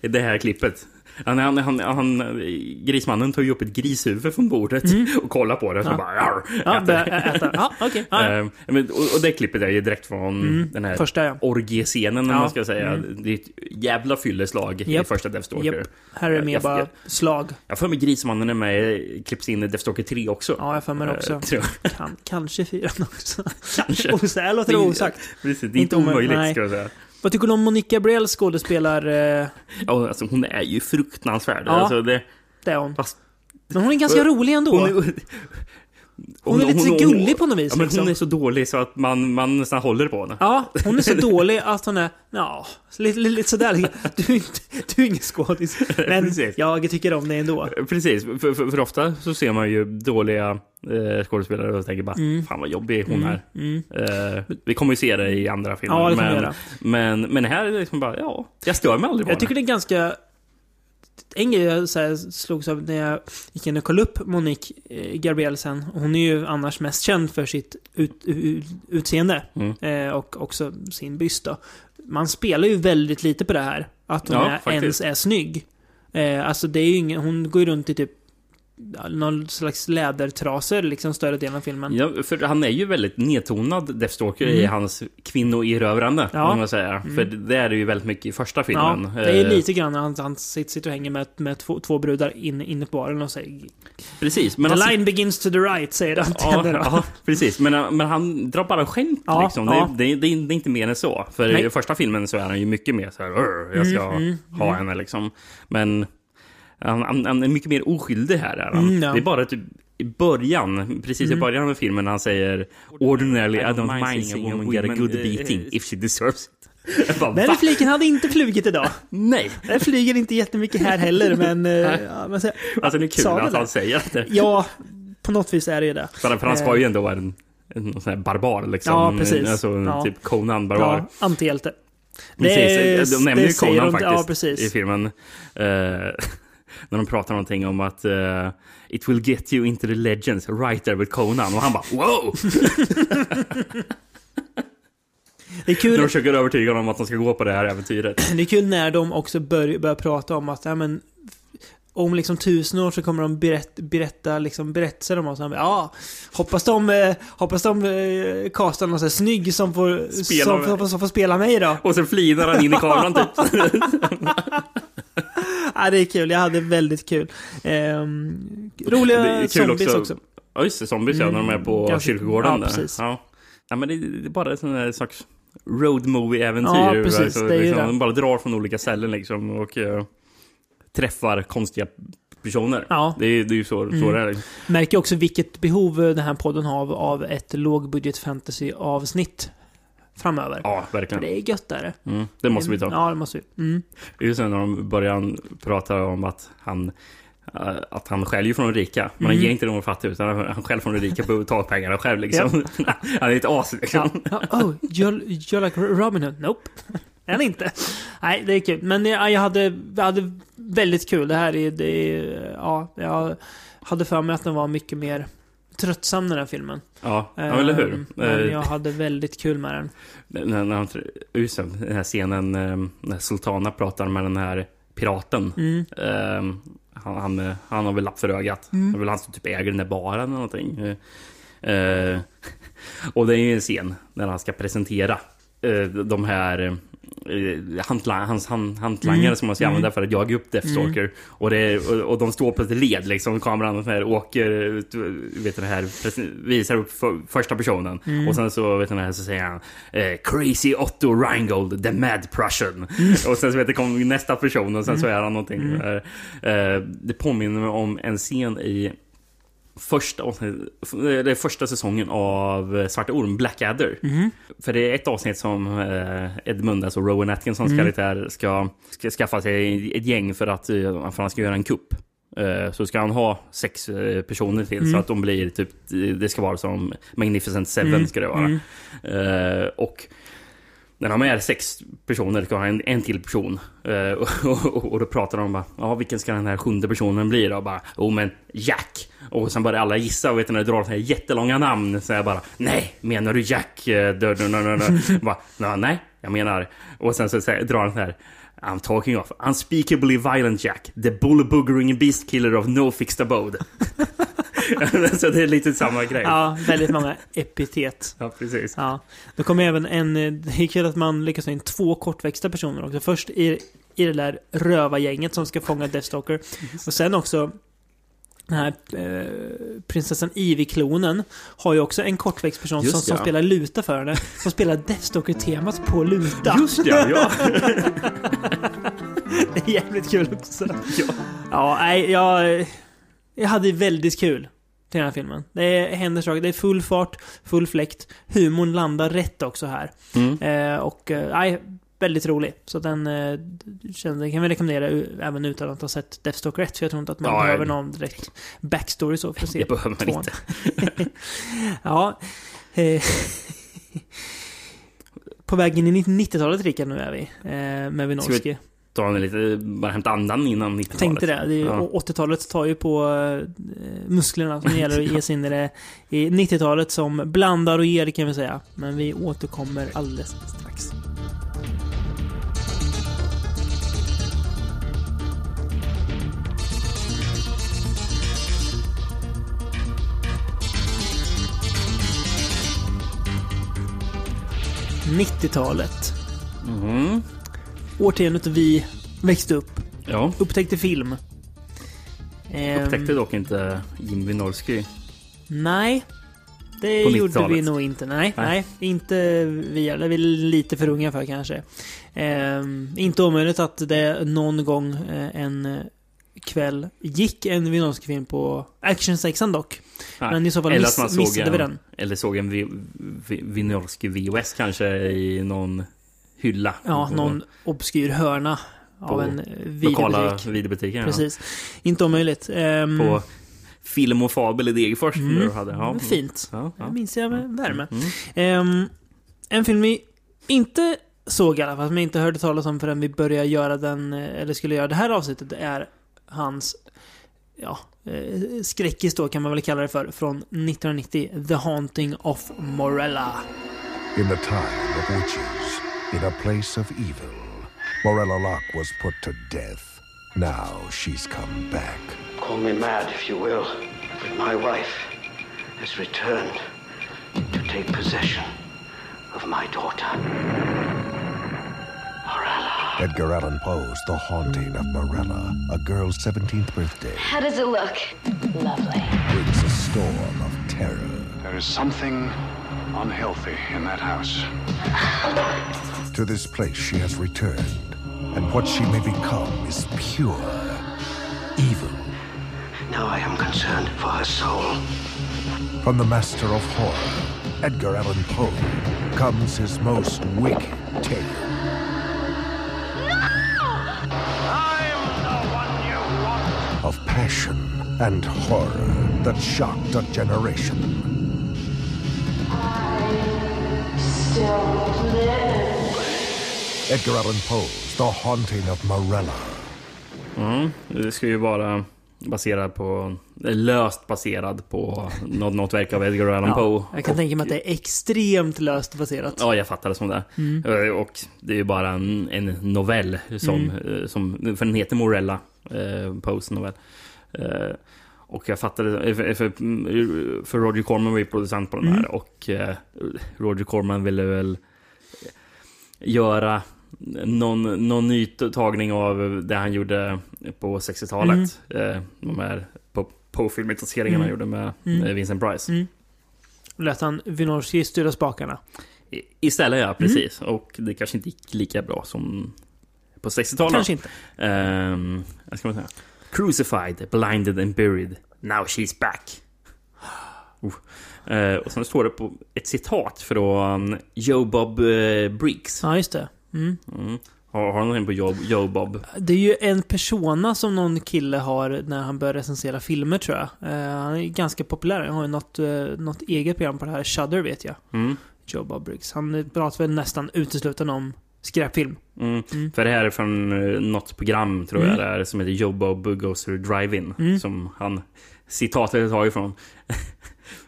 det här klippet. Han, han, han, han, grismannen tar ju upp ett grishuvud från bordet och kollar på det. Så Mm. Ja. bara, "Arr", Ja, äter. börjar ä- äta. Ja, okej. Ja, ja. Eh, men, och, och det klippet är ju direkt från Mm, den här första, ja. orgiescenen, om Ja, man ska säga. mm. Det är ett jävla fylleslag i Japp, första Death Stalker. japp. Här är det mer Jag- bara jag- slag. Jag har för mig Grismannen är med, klipps in i Death Stalker 3 också. Ja, jag har för mig det Eh, också. tror jag. Kan, kanske fyran också. Kanske. Och så här låter det Det är- osagt. Precis, det är inte omöj- omöjligt nej. ska jag säga. Vad tycker du om Monica Briell skådespelar... Eh, Ja, alltså, hon är ju fruktansvärd. Ja. Alltså, det, det är hon. Fast- Eh, Men hon är ganska rolig ändå. Hon är- Hon är lite så gullig på något vis, Ja, men liksom. Hon är så dålig så att man, man nästan håller på henne. Ja, hon är så dålig att hon är... Ja, lite, lite, lite sådär. Du, är inte- du är ingen skådis. Men Precis. jag tycker om dig ändå. Precis, för, för, för ofta så ser man ju dåliga eh, skådespelare och tänker bara Mm. Fan vad jobbig hon Mm, är. mm. Eh, vi kommer ju se det i andra filmer. Ja, det kommer vi men, göra. men, men här är det liksom bara, ja, jag stör mig aldrig på Jag tycker det är ganska... En grej jag så här slogs av när jag gick in och kollade upp Monique eh, Gabriel sen. Hon är ju annars mest känd för sitt ut, u- utseende. Mm. Eh, och också sin byst då. Man spelar ju väldigt lite på det här. Att hon Ja, är, ens faktiskt. är snygg. Eh, alltså det är ju ingen, hon går ju runt i typ ja, någon slags lädertrasor liksom större delen av filmen. Ja, för han är ju väldigt nedtonad, Deathstalker, Mm. i hans kvinnoerövrande, Ja. Mm. om man säger. För det är det ju väldigt mycket i första filmen. Ja, det är Eh, lite grann när han, han sitter och hänger med, med två, två brudar in, inne på baren och säger Precis, men The alltså- line begins to the right, säger han till Ja, henne då. ja, precis. Men, men han drar bara skämt Ja, liksom. ja. Det, det, det är inte mer än så. För Nej. i första filmen så är han ju mycket mer så här, "Arr, jag ska Mm, mm, ha mm. henne liksom. Men han, han, han är mycket mer oskyldig här. Är han. Mm, ja. Det är bara typ i början, precis i Mm. början av filmen, när han säger Ordinarily I don't mind seeing a woman get a good beating if she deserves it. Jag bara, Den "Va?" fliken hade inte flugit idag. Nej. Den flyger inte jättemycket här heller, men... eh, Nej. ja, men så, Alltså det är kul Sa du att det? han säger att det. ja, på något vis är det ju det. För, för han ska ju ändå vara en, en sån här barbar liksom. Ja, precis. Alltså, Ja. Typ Conan-barbar. Ja, antihjälte. Precis, de nämner ju säger Conan de- faktiskt Ja, precis. i filmen. Eh, när de pratar någonting om att eh, It will get you into the legends right there with Conan. Och han bara wow! Det är När kul. de försöker övertyga honom om att de ska gå på det här äventyret. Det är kul när de också bör, börjar prata om att ja, men, om liksom tusen år så kommer de berätt, berätta liksom, berättelser om oss. Han bara, Ja, hoppas de, eh, hoppas de eh, castar någon så här snygg som får, Spela som, mig. som, som får spela mig då. Och sen flinar han in i kameran typ. ja, det är kul. Jag hade väldigt kul. Ehm, Det roliga är kul zombies också. Ja just det, zombies ja, när de är på Mm, ganska- kyrkogården ja, där. precis. Ja. ja men det, det är bara en sån där slags road movie-äventyr. Ja, precis, Alltså, det är ju liksom, det. De bara drar från olika ställen liksom och eh, träffar konstiga personer. Ja. Det, är, det är ju så, så Mm. det är. liksom. Märker också vilket behov eh, den här podden har av, av ett lågbudget fantasy-avsnitt framöver. Ja, För verkligen. det är gött där. Mm, det måste vi ta. Ja, det måste vi. Mm. Det är ju sen när de börjar prata om att han eh, att han skäller ju från de rika. Men han Mm. ger inte dem fattiga utan han skäller från de rika på att ta pengarna själv liksom. han är ett as liksom. Ja, Oh, you're, you're like Robin Hood? Nope. Än inte. Nej, det är kul. Men jag, jag, hade, jag hade väldigt kul. Det här är... Det är ja, jag hade för mig att den var mycket mer tröttsam den här filmen. Ja, ja, eller hur? Eh, Men jag hade väldigt kul med den. När, när han, just det, den här scenen eh, när Sultana pratar med den här piraten. Mm. Eh, han, han, eh, han har väl lapp för ögat. Mm. Det är väl han som typ äger den där baren eller någonting. Eh, eh, och det är ju en scen när han ska presentera eh, de här eh, hantla, hans han, hantlangare Mm. som man ska Mm. använda för att jaga upp Deathstalker. Mm. Och, det, är- och, och de står på ett led liksom. Kameran och sån här, åker, ut, vet den här, presen- visar upp för, första personen. Mm. Och sen så vet den här så säger han eh, Crazy Otto Rheingold, the mad Prussian. Och sen så vet det kom nästa person och sen så är han någonting. Mm. Eh, eh, det påminner mig om en scen i första, avsnitt- eh, det är första säsongen av eh, Svarta Orm, Blackadder. Mhm. För det är ett avsnitt som eh, Edmund, alltså Rowan Atkinsons Mm. karaktär, ska, ska skaffa sig ett gäng för att, eh, för att han ska göra en kupp. Eh, Så ska han ha sex eh, personer till Mm. så att de blir typ, det ska vara som Magnificent Seven Mm. ska det vara. Eh, Och när de är sex personer ska ha en, en till person. Eh, och, och, och då pratar de bara, ja vilken ska den här sjunde personen bli då? Och bara, oh men Jack! Och sen börjar alla gissa och vet ni, när de drar så här jättelånga namn. Så jag bara, nej, menar du Jack? Eh, dö, dö, dö, dö, dö. bara, "Nå, nej, jag menar... Och sen så säger, drar han så här, I'm talking of unspeakably violent Jack, the bullboogering beast killer of no fixed abode. så det är lite samma grej. Ja, väldigt många epitet. Ja, precis. Ja. Då kommer även en... eh, Det är kul att man lyckas få in två kortväxta personer också. Först i, i det där rövargänget som ska fånga Deathstalker. Och sen också... Den här eh, prinsessan Ivy-klonen har ju också en kortväxt person Just som, som ja. spelar luta för henne. Som spelar Deathstalker-temat på luta. Just ja, ja. det är jävligt kul också. Ja, nej, jag, jag hade väldigt kul till den här filmen. Det händer saker, det är full fart, full fläkt. Humorn landar rätt också här. Mm. Eh, och eh, nej, väldigt rolig. Så den, eh, känner- den kan vi rekommendera u- även utan att ha sett Deathstalker 1. För jag tror inte att man Ja, behöver nej. någon direkt backstory så för att se. Det behöver man tvåan. inte. ja. eh, På vägen in i 90-talet, Rickard, nu är vi. Eh, med Ska Winorski. vi ta en lite, bara hämta andan innan 90-talet? Tänkte det. det är ju, Ja. och 80-talet tar ju på eh, musklerna som det gäller att ge sig in i det. I 90-talet som blandar och ger kan vi säga. Men vi återkommer alldeles strax. –90-talet. Mm. Årtiondet vi växte upp. Ja. Upptäckte film. Ehm, Upptäckte dock inte Jim Wynorski. Nej. Det På gjorde 90-talet. vi nog inte. Nej, nej. Nej. inte vi. Det är vi lite för unga för kanske. Ehm, inte omöjligt att det någon gång eh, en kväll gick en Wynorski-film på Actionsexan dock. Nej. Men i så fall Eller miss, att man såg missade en, vi den. Eller såg en Vi- Vi- Wynorski VOS kanske i någon hylla. Ja, På- någon obskyr hörna av på en eh, Lokala videobutik. videobutiken. Precis. Inte omöjligt. Ehm, Ja. På Film och Fabel i Degerfors. Mm. där du hade. Ja. Men Fint. Ja, ja. Det Mm. minns jag med värme. Ehm, en film vi inte såg i alla fall, som jag inte hörde talas om förrän vi började göra den, eh, eller skulle göra det här avsnittet, är hans, ja, eh, skräckis då kan man väl kalla det för, från 1990, The Haunting of Morella. In the time of witches, in a place of evil, Morella Locke was put to death. Now she's come back. Call me mad if you will, but my wife has returned to take possession of my daughter. Edgar Allan Poe's The Haunting of Morella, a girl's 17th birthday, How does it look? Lovely. brings a storm of terror There is something unhealthy in that house. to this place she has returned. And what she may become is pure evil. Now I am concerned for her soul. From the master of horror, Edgar Allan Poe, comes his most wicked tale. Of passion and horror that shocked a generation. Edgar Allan Poe's The Haunting of Morella. Mm. Det ska ju vara Baserad på... Löst baserad på något, något verk av Edgar Allan Poe. Jag kan tänka mig att det är extremt löst baserat. Ja, jag fattar det som det. Mm. Eh, Och det är ju bara en, en novell som, Mm. eh, som... För den heter Morella, eh, Poes novell. Eh, och jag fattade... eh, För, för, för Roger Corman var ju producent på den Mm. här och eh, Roger Corman ville väl eh, göra någon, någon ny tagning av det han gjorde på 60-talet. Eh, de här på, på Mm. filmintenseringarna han gjorde med Mm. eh, Vincent Price. Mm. Lät han Winorski styra spakarna. I- Istället Mm. ja, precis. Och det kanske inte gick lika bra som på 60-talet. Kanske inte. Ehm, vad ska man säga? Crucified, blinded and buried. Now she's back. Oh. Eh, och sen står det på ett citat från Joe Bob eh, Briggs. Ja, just det. Mm. Mm. Har, har du någonting på Joe, Joe Bob? Det är ju en persona som någon kille har när han börjar recensera filmer tror jag. Eh, han är ganska populär. Han har ju något, eh, något eget program på det här. Shudder vet jag. Mm. Joe Bob Briggs. Han eh, pratar väl nästan uteslutande om skräpfilm. Mm. För det här är från eh, något program tror jag det är, som heter Joe Bob Goes to the Drive-In. Mm. Som han, citatet är taget ifrån.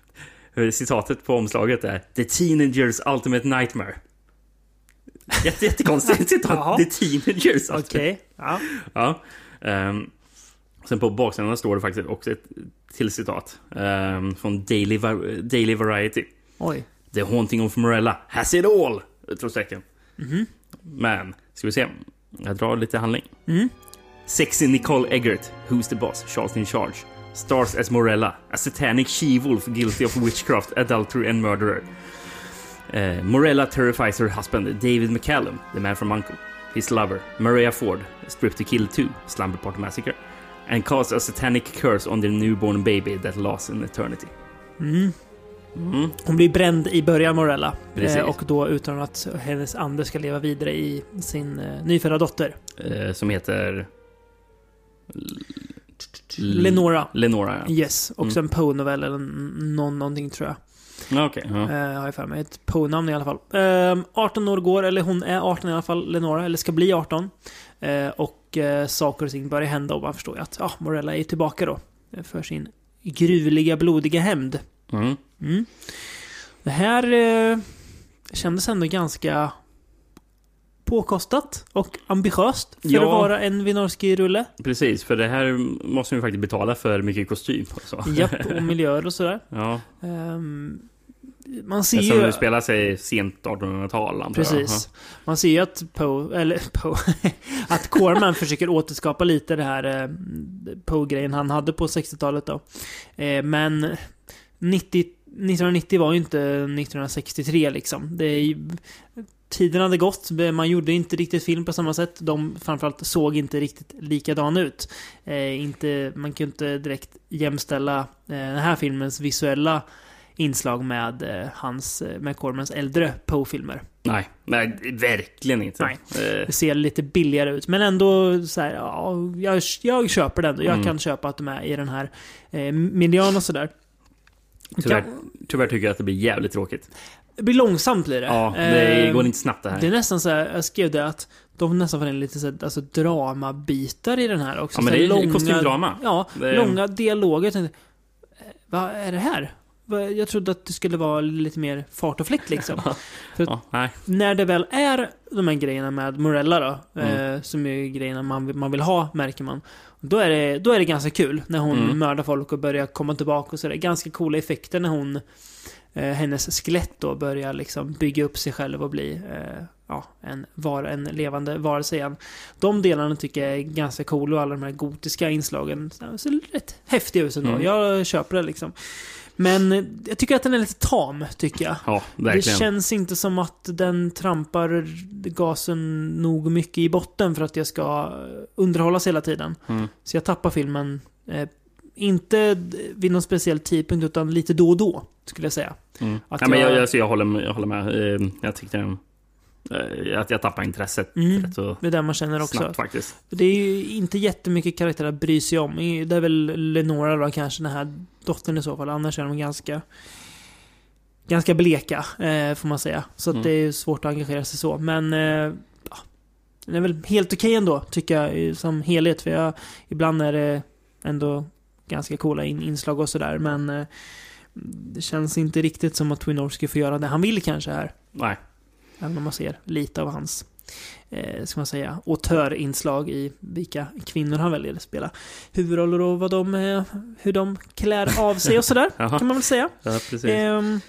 citatet på omslaget är The Teenagers Ultimate Nightmare. Jätte, jättekonstigt Jaha. citat. The Teenagers Ultimate Okej. Ja. Ja. Ehm, sen på baksidan står det faktiskt också ett till citat. ehm, från Daily, Var- Daily Variety. Oj. The Haunting of Morella has it all! Utropstecken. Mhm. Men, ska vi se. Jag drar lite handling. Mm. Sexy Nicole Eggert, Who's the Boss, Charles in Charge. Stars as Morella, a satanic she-wolf guilty of witchcraft, adultery and murderer. Eh, Morella terrifies her husband, David McCallum, the man from Uncle, his lover, Maria Ford, Stripped to Kill 2, Slumber Party Massacre, and casts a satanic curse on their newborn baby that lasts an eternity. Mm. Mm. Hon blir bränd i början, Morella. Precis. Eh, och då utan att hennes ande ska leva vidare i sin eh, nyfödda dotter. Eh, som heter... L- Lenora. Lenora, ja. Yes. Och Mm. sen Poe-novell eller n- någon, någonting tror jag. Ja, Okej. ja. Eh, har jag för mig. Ett Poe-namn i alla fall. Ehm, 18 år går, eller hon är 18 i alla fall, Lenora, eller ska bli 18. Eh, och eh, saker och ting börjar hända och man förstår ju att ja, Morella är tillbaka då. eh, För sin gruvliga, blodiga hämnd. Mm. Mm. Det här eh, kändes ändå ganska påkostat och ambitiöst för Ja. att vara en Winorski-rulle. Precis, för det här måste vi faktiskt betala för mycket kostym. och Så. Japp, och miljöer och sådär. ja. Ehm, man ser Eftersom ju... det spelar sig sent 1800-tal, antar jag. Precis. Man ser ju att Poe, eller Poe, att Corman försöker återskapa lite det här eh, Poe-grejen han hade på 60-talet då. Eh, men 90, 1990 var ju inte 1963 liksom. Det är ju, tiden hade gått, man gjorde inte riktigt film på samma sätt. De framförallt såg inte riktigt likadana ut. Eh, inte, man kunde inte direkt jämställa eh, den här filmens visuella inslag med, eh, hans, med Cormans äldre Poe-filmer. Nej, nej, verkligen inte. Nej. Eh, Det ser lite billigare ut. Men ändå så här, ja, jag, jag köper den. Jag Mm. kan köpa att de är i den här eh, miljön och sådär. tyvärr, Kan- tyvärr tycker jag att det blir jävligt tråkigt. Det blir långsamt blir det. Ja, det Eh, går inte snabbt det här. Det är nästan så här, jag skrev det att de nästan får in lite så här, alltså, dramabitar i den här också. Ja, men Så här det är kostymdrama. Ja, Det är- långa dialoger. Jag tänkte, eh, Vad är det här? Vad- Jag trodde att det skulle vara lite mer fart och fläkt liksom. För att Ja, nej. när det väl är de här grejerna med Morella då, Mm. eh, som är grejerna man, man vill ha, märker man. Då är, det, då är det ganska kul när hon Mm. mördar folk och börjar komma tillbaka och sådär. Ganska coola effekter när hon, eh, hennes skelett då börjar liksom bygga upp sig själv och bli eh, ja, en, var, en levande varelse igen. De delarna tycker jag är ganska coola och alla de här gotiska inslagen så- ser rätt häftiga ut ändå. Mm. Jag köper det liksom. Men eh, jag tycker att den är lite tam, tycker jag. Ja, verkligen. Det känns inte som att den trampar gasen nog mycket i botten för att jag ska underhållas hela tiden. Mm. Så jag tappar filmen, eh, inte d- vid någon speciell tidpunkt utan lite då och då, skulle jag säga. Mm. Att Nej, men jag, jag- jag, alltså, jag, håller, med- jag håller med. Eh, Jag tyckte eh, att jag tappade intresset Mm. rätt så Det är det man känner också. snabbt faktiskt. Det är ju inte jättemycket karaktärer att bry sig om. Det är väl Lenora då kanske, den här dottern i så fall. Annars är de ganska... Ganska bleka, eh, får man säga. Så att Mm. det är ju svårt att engagera sig så. Men... Eh, ja, den är väl helt okej ändå, tycker jag, i- som helhet. För jag, ibland är det... ändå ganska coola in, inslag och sådär. Men eh, det känns inte riktigt som att Winorski får göra det han vill kanske här. Nej. Även om man ser lite av hans, eh, ska man säga, autörinslag i vilka kvinnor han väljer att spela huvudroller och vad de, eh, hur de klär av sig och sådär. Jaha. kan man väl säga. Ja, precis. Ehm,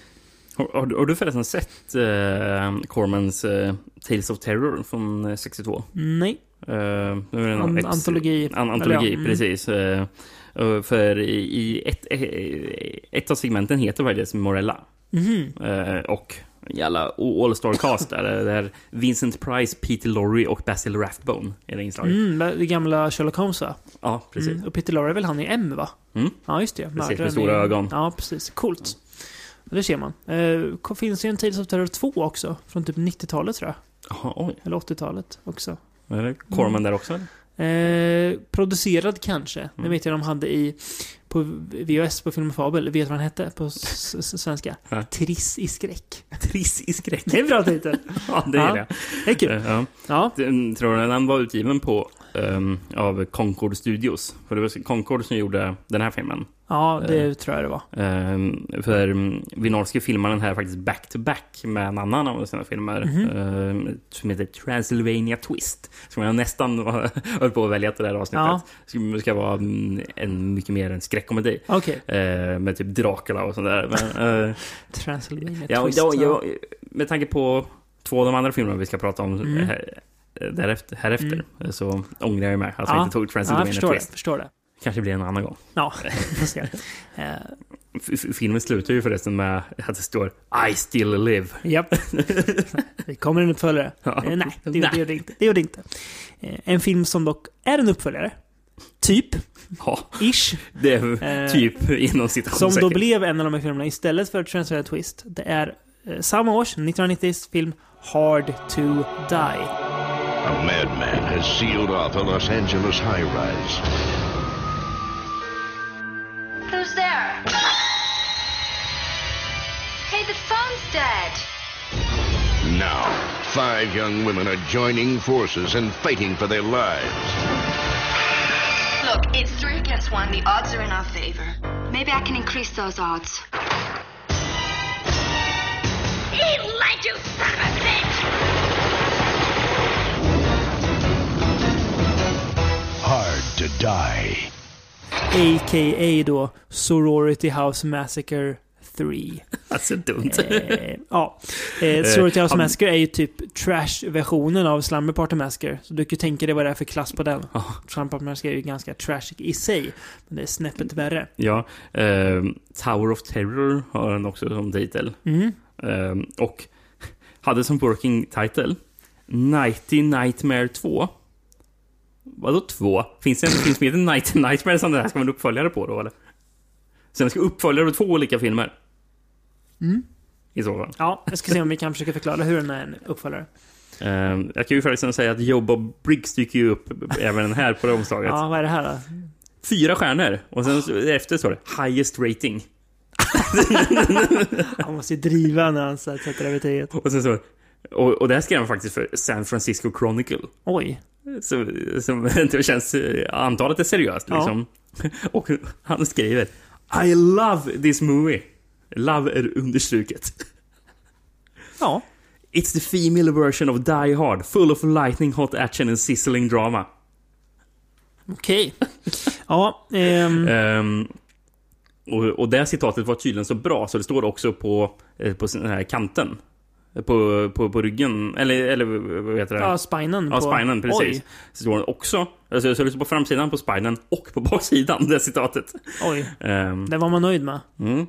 Har, har, du- har du förresten sett eh, Cormans eh, Tales of Terror från eh, 62? nej. Eh, nu är det An- någon- ett- antologi. An antologi, Eller ja, mm. precis. Eh, eh, för i, i ett, eh, ett av segmenten heter faktiskt Morella. Mhm. Eh, och en jävla all-star cast där. eh, där Vincent Price, Peter Lorre och Basil Rathbone är det inslaget. Mm, det gamla Sherlock Holmes va? Ja, precis. Mm, och Peter Lorre är väl han i M va? Mm. Ja, just det. Precis, med Mördaren stora i- ögon. Ja, precis. Coolt. Det ser man. Eh, ko- finns ju en Tales of Terror 2 också, från typ 90-talet tror jag. Jaha, oj. Eller 80-talet också. Är det Corman Mm. där också? eller? Eh, producerad kanske. Det Mm. vet jag de hade i på VHS på Film och Fabel. Vet du vad den hette på s- s- svenska? Nej. Triss i skräck. Triss i skräck. Det är en bra titel. Ja, det är Ja. det. Det är kul. Eh, Ja. Den- Tror du den var utgiven på ehm, av Concord Studios? För det var Concord som gjorde den här filmen. Ja, det Eh. tror jag det var. Ehm, för mm, Winorski filmade den här faktiskt back-to-back med en annan av sina filmer. Mhm. ehm, som heter Transylvania Twist. Som jag nästan var- höll på att välja till det här avsnittet. Ja. Som ska vara mm, en, mycket mer en skräckkomedi. Okej. Ehm, med typ Dracula och sånt där. Men, eh, Transylvania ja, Twist. ja, ja, med tanke på två av de andra filmerna vi ska prata om Mm. här, därefter, härefter så ångrar jag mig att Ja. jag inte tog Ja, jag Transylvania förstår det, Twist. förstår det. kanske blir en annan gång. Ja, får se. Eh, F- f- Filmen slutar ju förresten med att det står I still live. Japp. Det kommer en uppföljare. Ja. Eh, nej, det gjorde, det gjorde inte. Det gjorde inte. Eh, en film som dock är en uppföljare. Typ. Ja. Ish. Det är Eh, typ inom Som citationstecken. då blev en av de här filmerna istället för Transylvania Twist. Det är eh, samma års, 1990s film Hard to Die. A madman has sealed off a Los Angeles high rise. Who's there? Hey, the phone's dead. Now, five young women are joining forces and fighting for their lives. Look, it's three against one. The odds are in our favor. Maybe I can increase those odds. He led you, son of a bitch! Hard to die. A.k.a. då Sorority House Massacre 3. Alltså dumt. Eh, ja. Eh, Eh, Sorority House han- Massacre är ju typ trash-versionen av Slumber Party Massacre. Så du kan ju tänka dig vad det är för klass på den. Slumber Party Massacre är ju ganska trashig i sig. Men det är snäppet värre. Ja, ehm, Tower of Terror har den också som titel. Mm. Ehm, och hade som working title Nighty Nightmare 2. Vadå 2? Finns det en film som heter Nighty Nightmare som det här ska vara en uppföljare på då eller? Så den ska uppföljare på två olika filmer? Mm. I så fall. Ja, jag ska se om vi kan försöka förklara hur den är en uppföljare. Ehm, jag kan ju förresten säga att Joe Bob Briggs dyker ju upp även den här på det omslaget. Ja, vad är det här då? Fyra stjärnor och sen så- efter står det highest rating. Han måste ju driva när han så här sätter det betyget. Och, sen så, och, och det här skrev han faktiskt för San Francisco Chronicle. Oj. Så, som inte känns... Antalet är seriöst Ja. liksom. Och han skriver I love this movie. Love är understruket. Ja. It's the female version of Die Hard, full of lightning hot action and sizzling drama. Okej. Ja, ehm, Ehm, och, och det här citatet var tydligen så bra så det står också på, eh, på den här kanten. På, på, på ryggen, eller, eller vad heter det? Ja, spinen Ja, på- spinen, precis. Oj. Så står den också, alltså, så det står på framsidan på spinen och på baksidan, det citatet. Oj. Ehm, det var man nöjd med. Mm.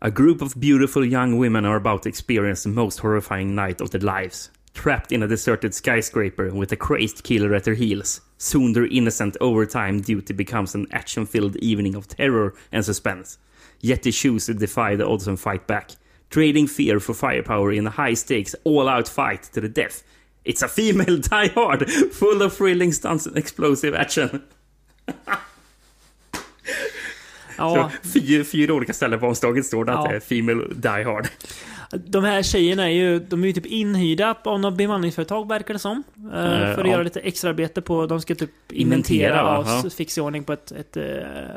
A group of beautiful young women are about to experience the most horrifying night of their lives. Trapped in a deserted skyscraper with a crazed killer at their heels. Soon their innocent overtime duty becomes an action filled evening of terror and suspense. Yet they choose to defy the odds and fight back. Trading fear for firepower in a high stakes, all out fight to the death. It's a female die hard, full of thrilling stunts and explosive action. Ja. Så fyra, fyra olika ställen på omslaget står det att Ja. det är Female Die Hard. De här tjejerna är ju, de är ju typ inhyrda av något bemanningsföretag verkar det som. Eh, för att ja. göra lite extraarbete på, de ska typ Inventera, inventera va? och Ja. s- fixa i ordning på ett, ett eh,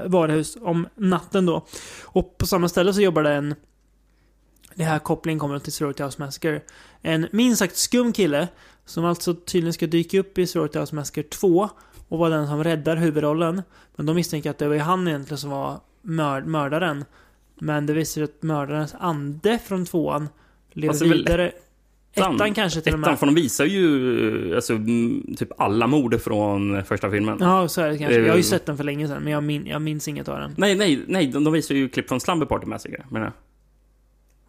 varuhus om natten då. Och på samma ställe så jobbar det en, det här kopplingen kommer till Sorority House Massacre, en minst sagt skum kille som alltså tydligen ska dyka upp i Sorority House Massacre 2 och vara den som räddar huvudrollen. Men de misstänker att det var ju han egentligen som var mör- mördaren. Men det visar sig att mördarens ande från tvåan lever Fast Alltså, det är väl vidare. Ettan, kanske till ettan, och med. för de visar ju eh, alltså, mm, typ alla mord från eh, första filmen. Ja, så är det kanske. Eh, Jag har ju sett den för länge sedan, men jag, min- jag minns inget av den. Nej, nej, nej. De, de visar ju klipp från Slumber Party Massacre, menar jag.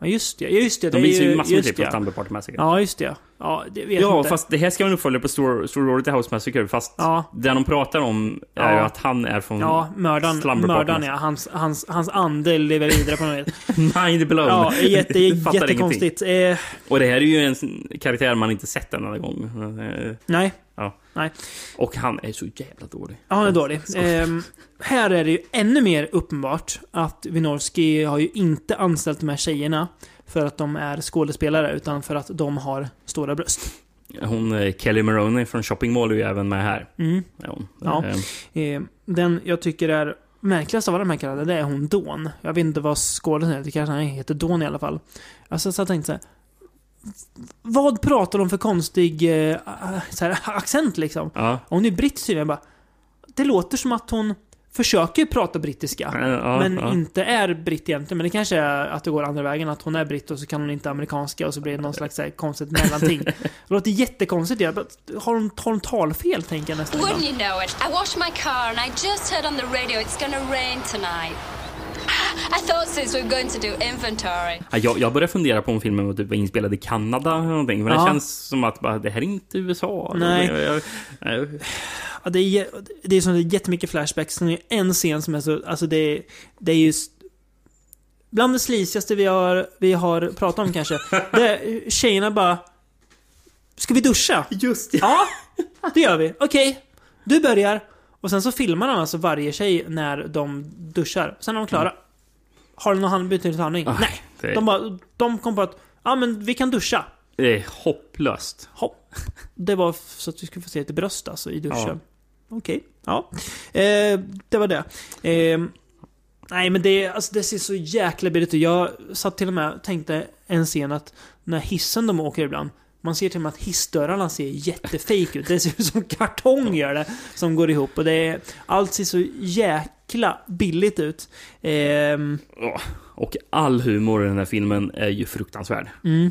Ja, just det. Just det det De är visar ju massor med just klipp det. från Slumber Party Massacre. Ja, just det. Ja, det vet ja, jag inte. fast det här ska man uppfölja på Stor- Sorority House Massacre, fast det de pratar om är Ja. ju att han är från Ja, mördaren, Slumber Party mördaren ja. Massacre. Hans, hans, hans ande lever vidare på något vis. Mind blown. Ja, jätte, Jag fattar jättekonstigt. Eh, Och det här är ju en sån karaktär man inte sett en annan gång. Eh, Nej. Ja. Nej. Och han är så jävla dålig. Ja, han är dålig. Så- Ehm, här är det ju ännu mer uppenbart att Winorski har ju inte anställt de här tjejerna för att de är skådespelare, utan för att de har stora bröst. Hon eh, Kelly Maroney från Shopping Mall är ju även med här. Mm. Är hon. Ja. Eh, Ehm, den jag tycker är märkligast av alla de här karaktärerna, det är hon Dawn. Jag vet inte vad skådespelaren heter, kanske han heter Dawn i alla fall. Alltså, så jag tänkte så här, vad pratar de för konstig eh, ah, så här, accent liksom? Ja. Hon är britt tydligen. bara, Det låter som att hon försöker prata brittiska. ja, men ja. inte är britt egentligen. Men det kanske är att det går andra vägen. Att hon är britt och så kan hon inte amerikanska och så blir det någon slags så här, konstigt mellanting. det låter jättekonstigt. Jag bara, har, hon, har hon talfel tänker jag nästan. Wouldn't you know it? I washed my car and I just heard on the radio it's gonna rain tonight. I thought since we're going to do inventory. Ja, Jag, jag började fundera på om filmen var typ inspelad i Kanada eller någonting. Men Ja. det känns som att bara, det här är inte USA. Nej. Jag, jag, jag, Ja, det, är, jä- det är som det är jättemycket flashbacks. Sen är det en scen som är så... Alltså det, är- det är just... Bland det slisigaste vi har, vi har pratat om kanske. Det är, tjejerna bara... Ska vi duscha? Just det. Ja, det gör vi. Okej, du börjar. Och sen så filmar de alltså varje tjej när de duschar. Sen är de klara. Mm. Har de någon hand- bytt till Ah, handling? Nej. det är- De, bara, de kom på att ja, men vi kan duscha. det är hopplöst. Hopp. Det var f- så att vi skulle få se lite bröst alltså i duschen. Okej. Ja. Eh, det var det. Eh, nej men det, alltså, det ser så jäkla billigt ut. Jag satt till och med och tänkte en scen att när hissen de åker ibland. Man ser till och med att hissdörrarna ser jättefejk ut. Det ser ut som kartong gör det. Som går ihop. Och det är, allt ser så jäkla billigt ut. Ehm, Ja, Och all humor i den här filmen är ju fruktansvärd. mm.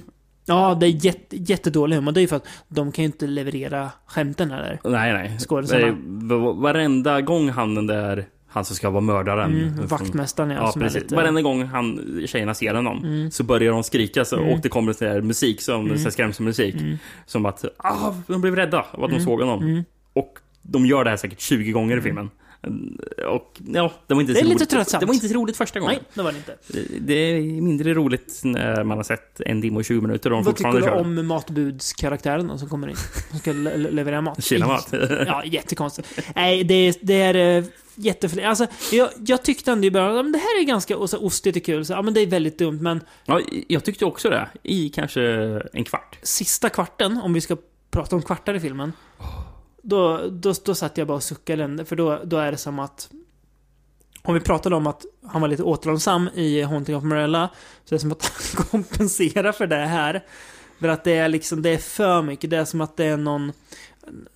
Ja, det är jätte, jättedålig humor. Det är ju för att de kan ju inte leverera skämten heller. Nej, nej. Skådisarna. Eh, v- Varenda gång han den där, han som ska vara mördaren. Mm, vaktmästaren, ja, ja. som är precis. lite- Varenda gång han, tjejerna ser honom Mm. så börjar de skrika så, Mm. och det kommer sån här musik, som, Mm. sån här skrämselmusik. Mm. Som att ah, de blev rädda av att Mm. de såg honom. Mm. Och de gör det här säkert 20 gånger i filmen. Och ja, det var inte Det är så lite roligt. tröttsamt. Det var inte så roligt första gången. Nej, det var det inte. Det- Det är mindre roligt när man har sett en timme och 20 minuter och de Vad tycker fortfarande du kör. om matbudskaraktären då som kommer in? Som ska le le- leverera mat. Kinamat. ja, jättekonstigt. Nej, det, det är jättefler. Alltså, jag, jag tyckte ändå i början, ja, men det här är ganska och så ostigt och kul. Så, ja, men det är väldigt dumt, men Ja, jag tyckte också det. I kanske en kvart. sista kvarten, om vi ska prata om kvartar i filmen. Då, då, då satt jag bara och suckade. den, För då, då är det som att... Om vi pratade om att han var lite återhållsam i Haunting of Morella. Så är det som att han kompenserar för det här. För att det är liksom, det är för mycket. Det är som att det är någon...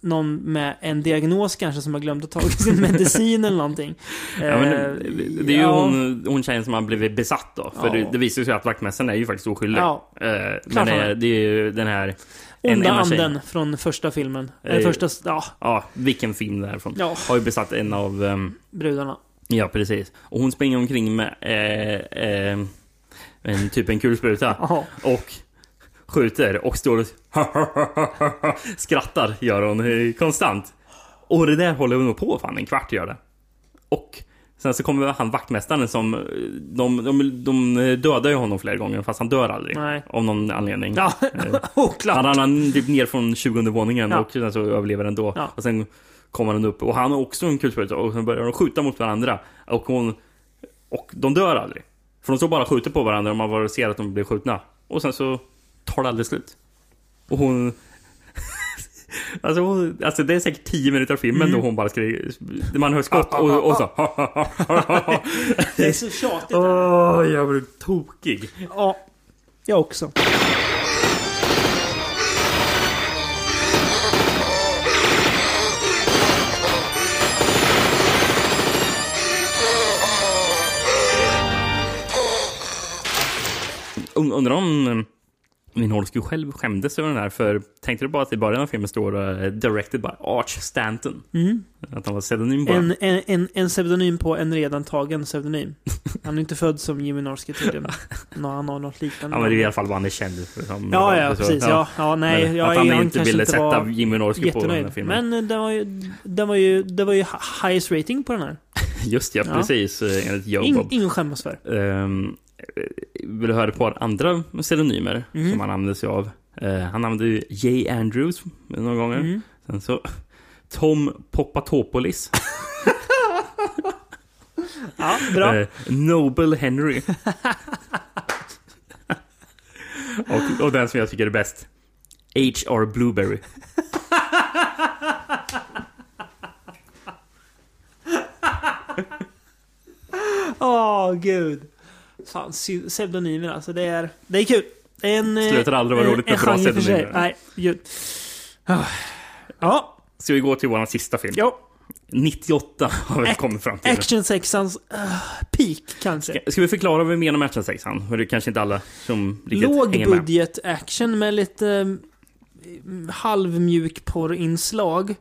Någon med en diagnos kanske som har glömt att ta sin medicin eller någonting. Ja, men Eh, det, det är ju ja. hon, hon tjejen som har blivit besatt då. För Ja. det, det visar sig att vaktmästaren är ju faktiskt oskyldig. Ja. Eh, han men det är. är, det är ju den här... en- Onda en av tjejerna. anden från första filmen. Eller Eh, första, ja, Ja, vilken film det är från. Ja. Har ju besatt en av... ehm, brudarna. ja, precis. Och hon springer omkring med eh, eh, en, typ en kulspruta. Ja. och skjuter och står och skrattar gör hon eh, konstant. Och det där håller hon nog på fan en kvart gör det. Och sen så kommer han vaktmästaren som... eh, De, de, de dödar ju honom flera gånger fast han dör aldrig. Nej. Av någon anledning. Ja, Eh, oklart. Han ramlar typ ner från 20 våningen Ja. och sen så överlever han då. Ja. Och sen kommer han upp och han har också en kulspruta och sen börjar de skjuta mot varandra. Och hon... Och de dör aldrig. För de står bara och skjuter på varandra och man bara ser att de blir skjutna. Och sen så tar det aldrig slut. Och hon... Alltså, hon, alltså det är säkert 10 minuter av filmen Mm. då hon bara skriker. Man hör skott och, och så... Det är så tjatigt. Åh, jag blir tokig. Ja, jag också. Und- Undrar om Minolsky själv skämdes över den här. För tänkte du bara att i början av filmen står eh, “Directed by Arch Stanton”? Mm. Att han var pseudonym bara. En, en, en, en pseudonym på en redan tagen pseudonym. Han är inte född som Jimmy Norske tydligen. Nå, Han har något liknande. Ja, men det är i alla fall vad han är känd för. som. Ja, ja, Så- precis. Ja, ja, nej, Men jag att är- han han inte kanske ville inte sätta var Jimmy Norske på den här Jättenöjd. filmen. Men eh, den var ju, den var ju, det var ju hi- highest rating på den här. Just ja, Ja. precis. eh, Enligt Joe Ing, Bob. ingen skämmas för. Ehm, vill du höra ett par andra pseudonymer Mm. som han använde sig av? Eh, han använde ju J. Andrews några gånger. Mm. Sen så Tom Popatopoulos. Ja, bra. Eh, Noble Henry. och, och den som jag tycker är bäst. H.R. Blueberry. Åh, gud. Fan, sy- pseudonymer alltså. Det är, det är kul. Det är en... eh, Slutar aldrig vara en- roligt med en bra genre för sig. pseudonymer. Nej, gud. Ah. Ja. Ska vi gå till vår sista film? Ja. 98 har vi kommit fram till. Actionsexans eh, peak kanske. Ska- Ska vi förklara vad vi menar med actionsexan? För det är kanske inte alla som riktigt hänger med. Lågbudget-action med lite eh, halvmjuk porrinslag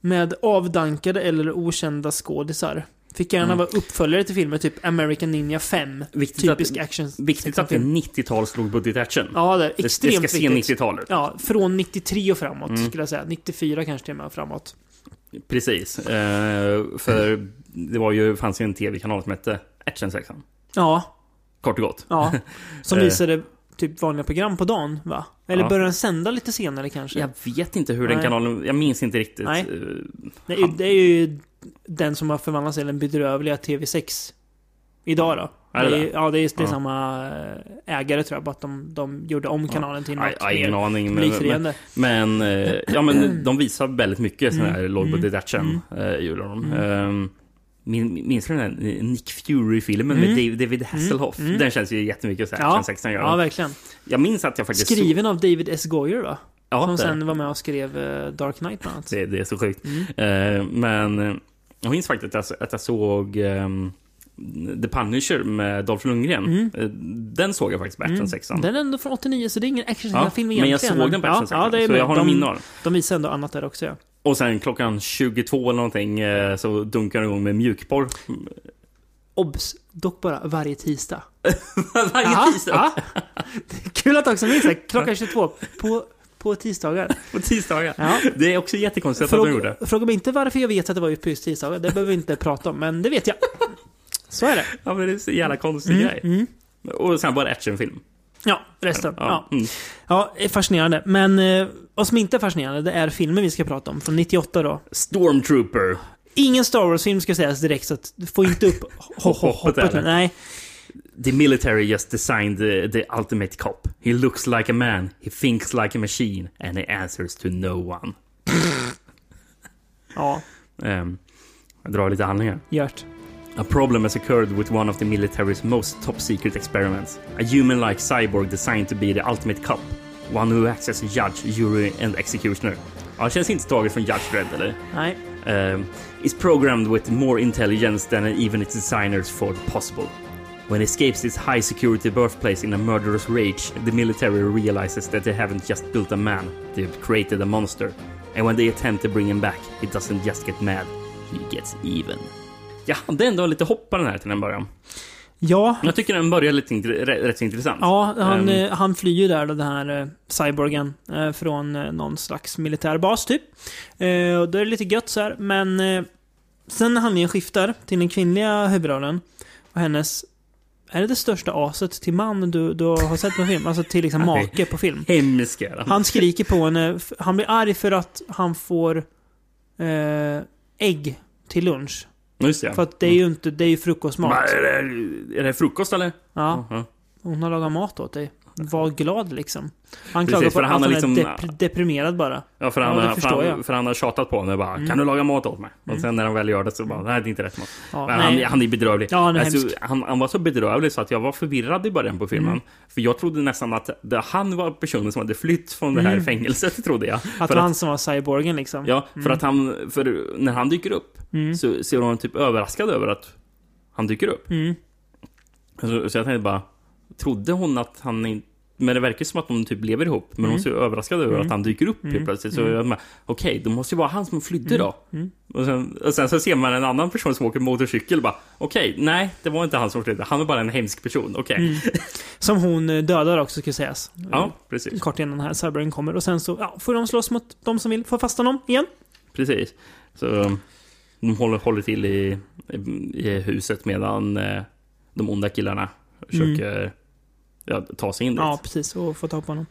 Med avdankade eller okända skådisar. Fick gärna Mm. vara uppföljare till filmer, typ American Ninja 5. Viktigt att- Typisk action. Viktigt att det är 90-tals lågbudget action. Ja, det är det extremt ska se viktigt. 90-talet. Ja, från 93 och framåt Mm. skulle jag säga. 94 kanske till och med framåt. Precis. Eh, för det var ju, fanns ju en tv-kanal som hette Actionsexan. Ja, Kort och gott. ja. Som Eh, visade typ vanliga program på dagen, va? Eller Ja. började den sända lite senare kanske? Jag vet inte hur den Nej. kanalen... Jag minns inte riktigt. Nej. Eh, Det är, ju, det är ju den som har förvandlats till den bedrövliga TV6 idag då. Är det är, det? ja, det är, det är Ja. samma eh, ägare tror jag, bara att de, de gjorde om kanalen till Nej, något jag har ingen mer aning. Men, publikfriande. men, men, eh, ja, men de visar väldigt mycket sån här Mm, lågbudget mm, action. eh, gjorde de. Mm. Ehm, min- Minns du den där Nick Fury-filmen med Mm. Dave- David Hasselhoff? Mm, mm. Den känns ju jättemycket så här. Ja, 2016 gör ja, den. verkligen. Jag minns att jag faktiskt... såg- Skriven av David S. Goyer va? Ja, som det- sen Mm. var med och skrev eh, Dark Knight bland annat. Det, det är så sjukt. Eh, men eh, jag minns faktiskt att jag, att jag såg ehm, The Punisher med Dolph Lundgren. Eh, den såg jag faktiskt på Mm. Action 6. Den är ändå från 89 så det är ingen action Ja, film men jag egentligen. såg den på ja, Action ja, det är så jag har en de, minne av de, den. de visar ändå annat där också ja. Och sen klockan 22 eller någonting eh, så dunkar den igång med mjukporr. Obs! Dock bara varje tisdag. Varje tisdag? Ja. Det är kul att också minns det. Klockan 22. På, på tisdagar. På tisdagar. Ja. Det är också jättekonstigt att de gjorde. Fråga, fråga mig inte varför jag vet att det var just på just tisdagar. Det behöver vi inte prata om, men det vet jag. Så är det. Ja, men det är så jävla konstig Mm, grej. Och sen var det actionfilm. Ja, resten. Ja. Mm. Ja, är fascinerande. Men eh, vad som inte är fascinerande, det är filmen vi ska prata om. Från 98 då. Stormtrooper. Ingen Star Wars-film ska sägas direkt, så att, få inte upp ho- ho- hoppet. där. nu. Nej. The military just designed the, the ultimate cop. He looks like a man, he thinks like a machine, and he answers to no one. Ja, Ehm, jag drar lite handlingar. Gert. A problem has occurred with one of the military's most top secret experiments. A human like cyborg designed to be the ultimate cop. One who acts as a judge, jury and executioner. Ja, det känns inte taget från Judge Dredd, eller? Nej. um, is programmed with more intelligence than even its designers thought possible. When he escapes his high security birthplace in a murderous rage, the military realizes that they haven't just built a man, they've created a monster. And when they attempt to bring him back, he doesn't just get mad, he gets even. Jag hade ändå lite hopp på den här till en början. Ja, Jag tycker den börjar lite intre- rätt, rätt så intressant. Ja, han, Ehm, eh, han flyr ju där då, den här eh, cyborgen eh, från eh, någon slags militär bas typ. Eh, och då är det lite gött så här, men eh, sen när handlingen skiftar till den kvinnliga huvudrollen och hennes är det det största aset till man du, du har sett på film? Alltså till liksom make på film. Hemsk är Han skriker på henne. f- Han blir arg för att han får eh, ägg till lunch. Just det. För att det är ju inte, det är ju frukostmat. Vad är, det, är det frukost eller? Ja. Jaha. Hon har lagat mat åt dig. var glad liksom. Han Precis, klagar på för att han han har är liksom- dep- deprimerad bara. Ja, för han, ja, det har- för, förstår han, jag. för han har tjatat på henne bara Mm. Kan du laga mat åt mig? Mm. Och sen när han väl gör det så bara Nej det är inte rätt mat. Ja, Men nej. han, han är bedrövlig. Alltså, Ja, han är hemsk. han, han var så bedrövlig så att jag var förvirrad i början på filmen. Mm. För jag trodde nästan att det, han var personen som hade flytt från det här Mm. fängelset trodde jag. Att det för var han som var cyborgen liksom. ja, för Mm. att han, för när han dyker upp Mm. så ser hon typ överraskad över att han dyker upp. Mm. Så, så jag tänkte bara, trodde hon att han inte... Men det verkar som att de typ lever ihop, men Mm. hon ser överraskad över Mm. att han dyker upp Mm. helt plötsligt. Så Mm. jag bara, okej, det måste ju vara han som flydde Mm. då. Mm. Och sen, och sen så ser man en annan person som åker motorcykel och bara, okej, nej, det var inte han som flydde. Han var bara en hemsk person, okej. Mm. Som hon eh, dödar också ska sägas. Ja, precis. Kort innan den här cyborgen kommer. Och sen så ja, får de slåss mot de som vill få fast honom igen. Precis. Så um, de håller, håller till i, i huset medan eh, de onda killarna försöker ja, ta sig in dit. Mm. Ja, precis. Och få tag på honom.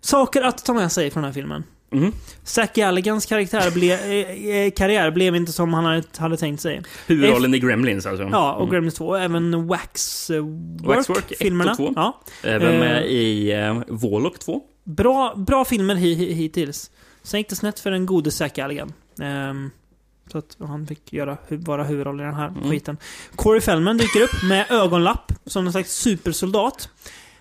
Saker att ta med sig från den här filmen. Mm. Zack Galligans karaktär ble, eh, eh, karriär blev inte som han hade, hade tänkt sig. Huvudrollen i Gremlins alltså. Ja, och Mm. Gremlins 2. Även Waxwork. Waxwork 1 och 2. Ja. Mm. Även Eh, med i eh, Warlock 2. Bra, bra filmer hi, hi, hittills. Sen gick det snett för den gode Zack Galligan. Ehm, så att han fick göra, hu- vara huvudrollen i den här skiten. Corey Feldman dyker upp med ögonlapp som någon slags supersoldat.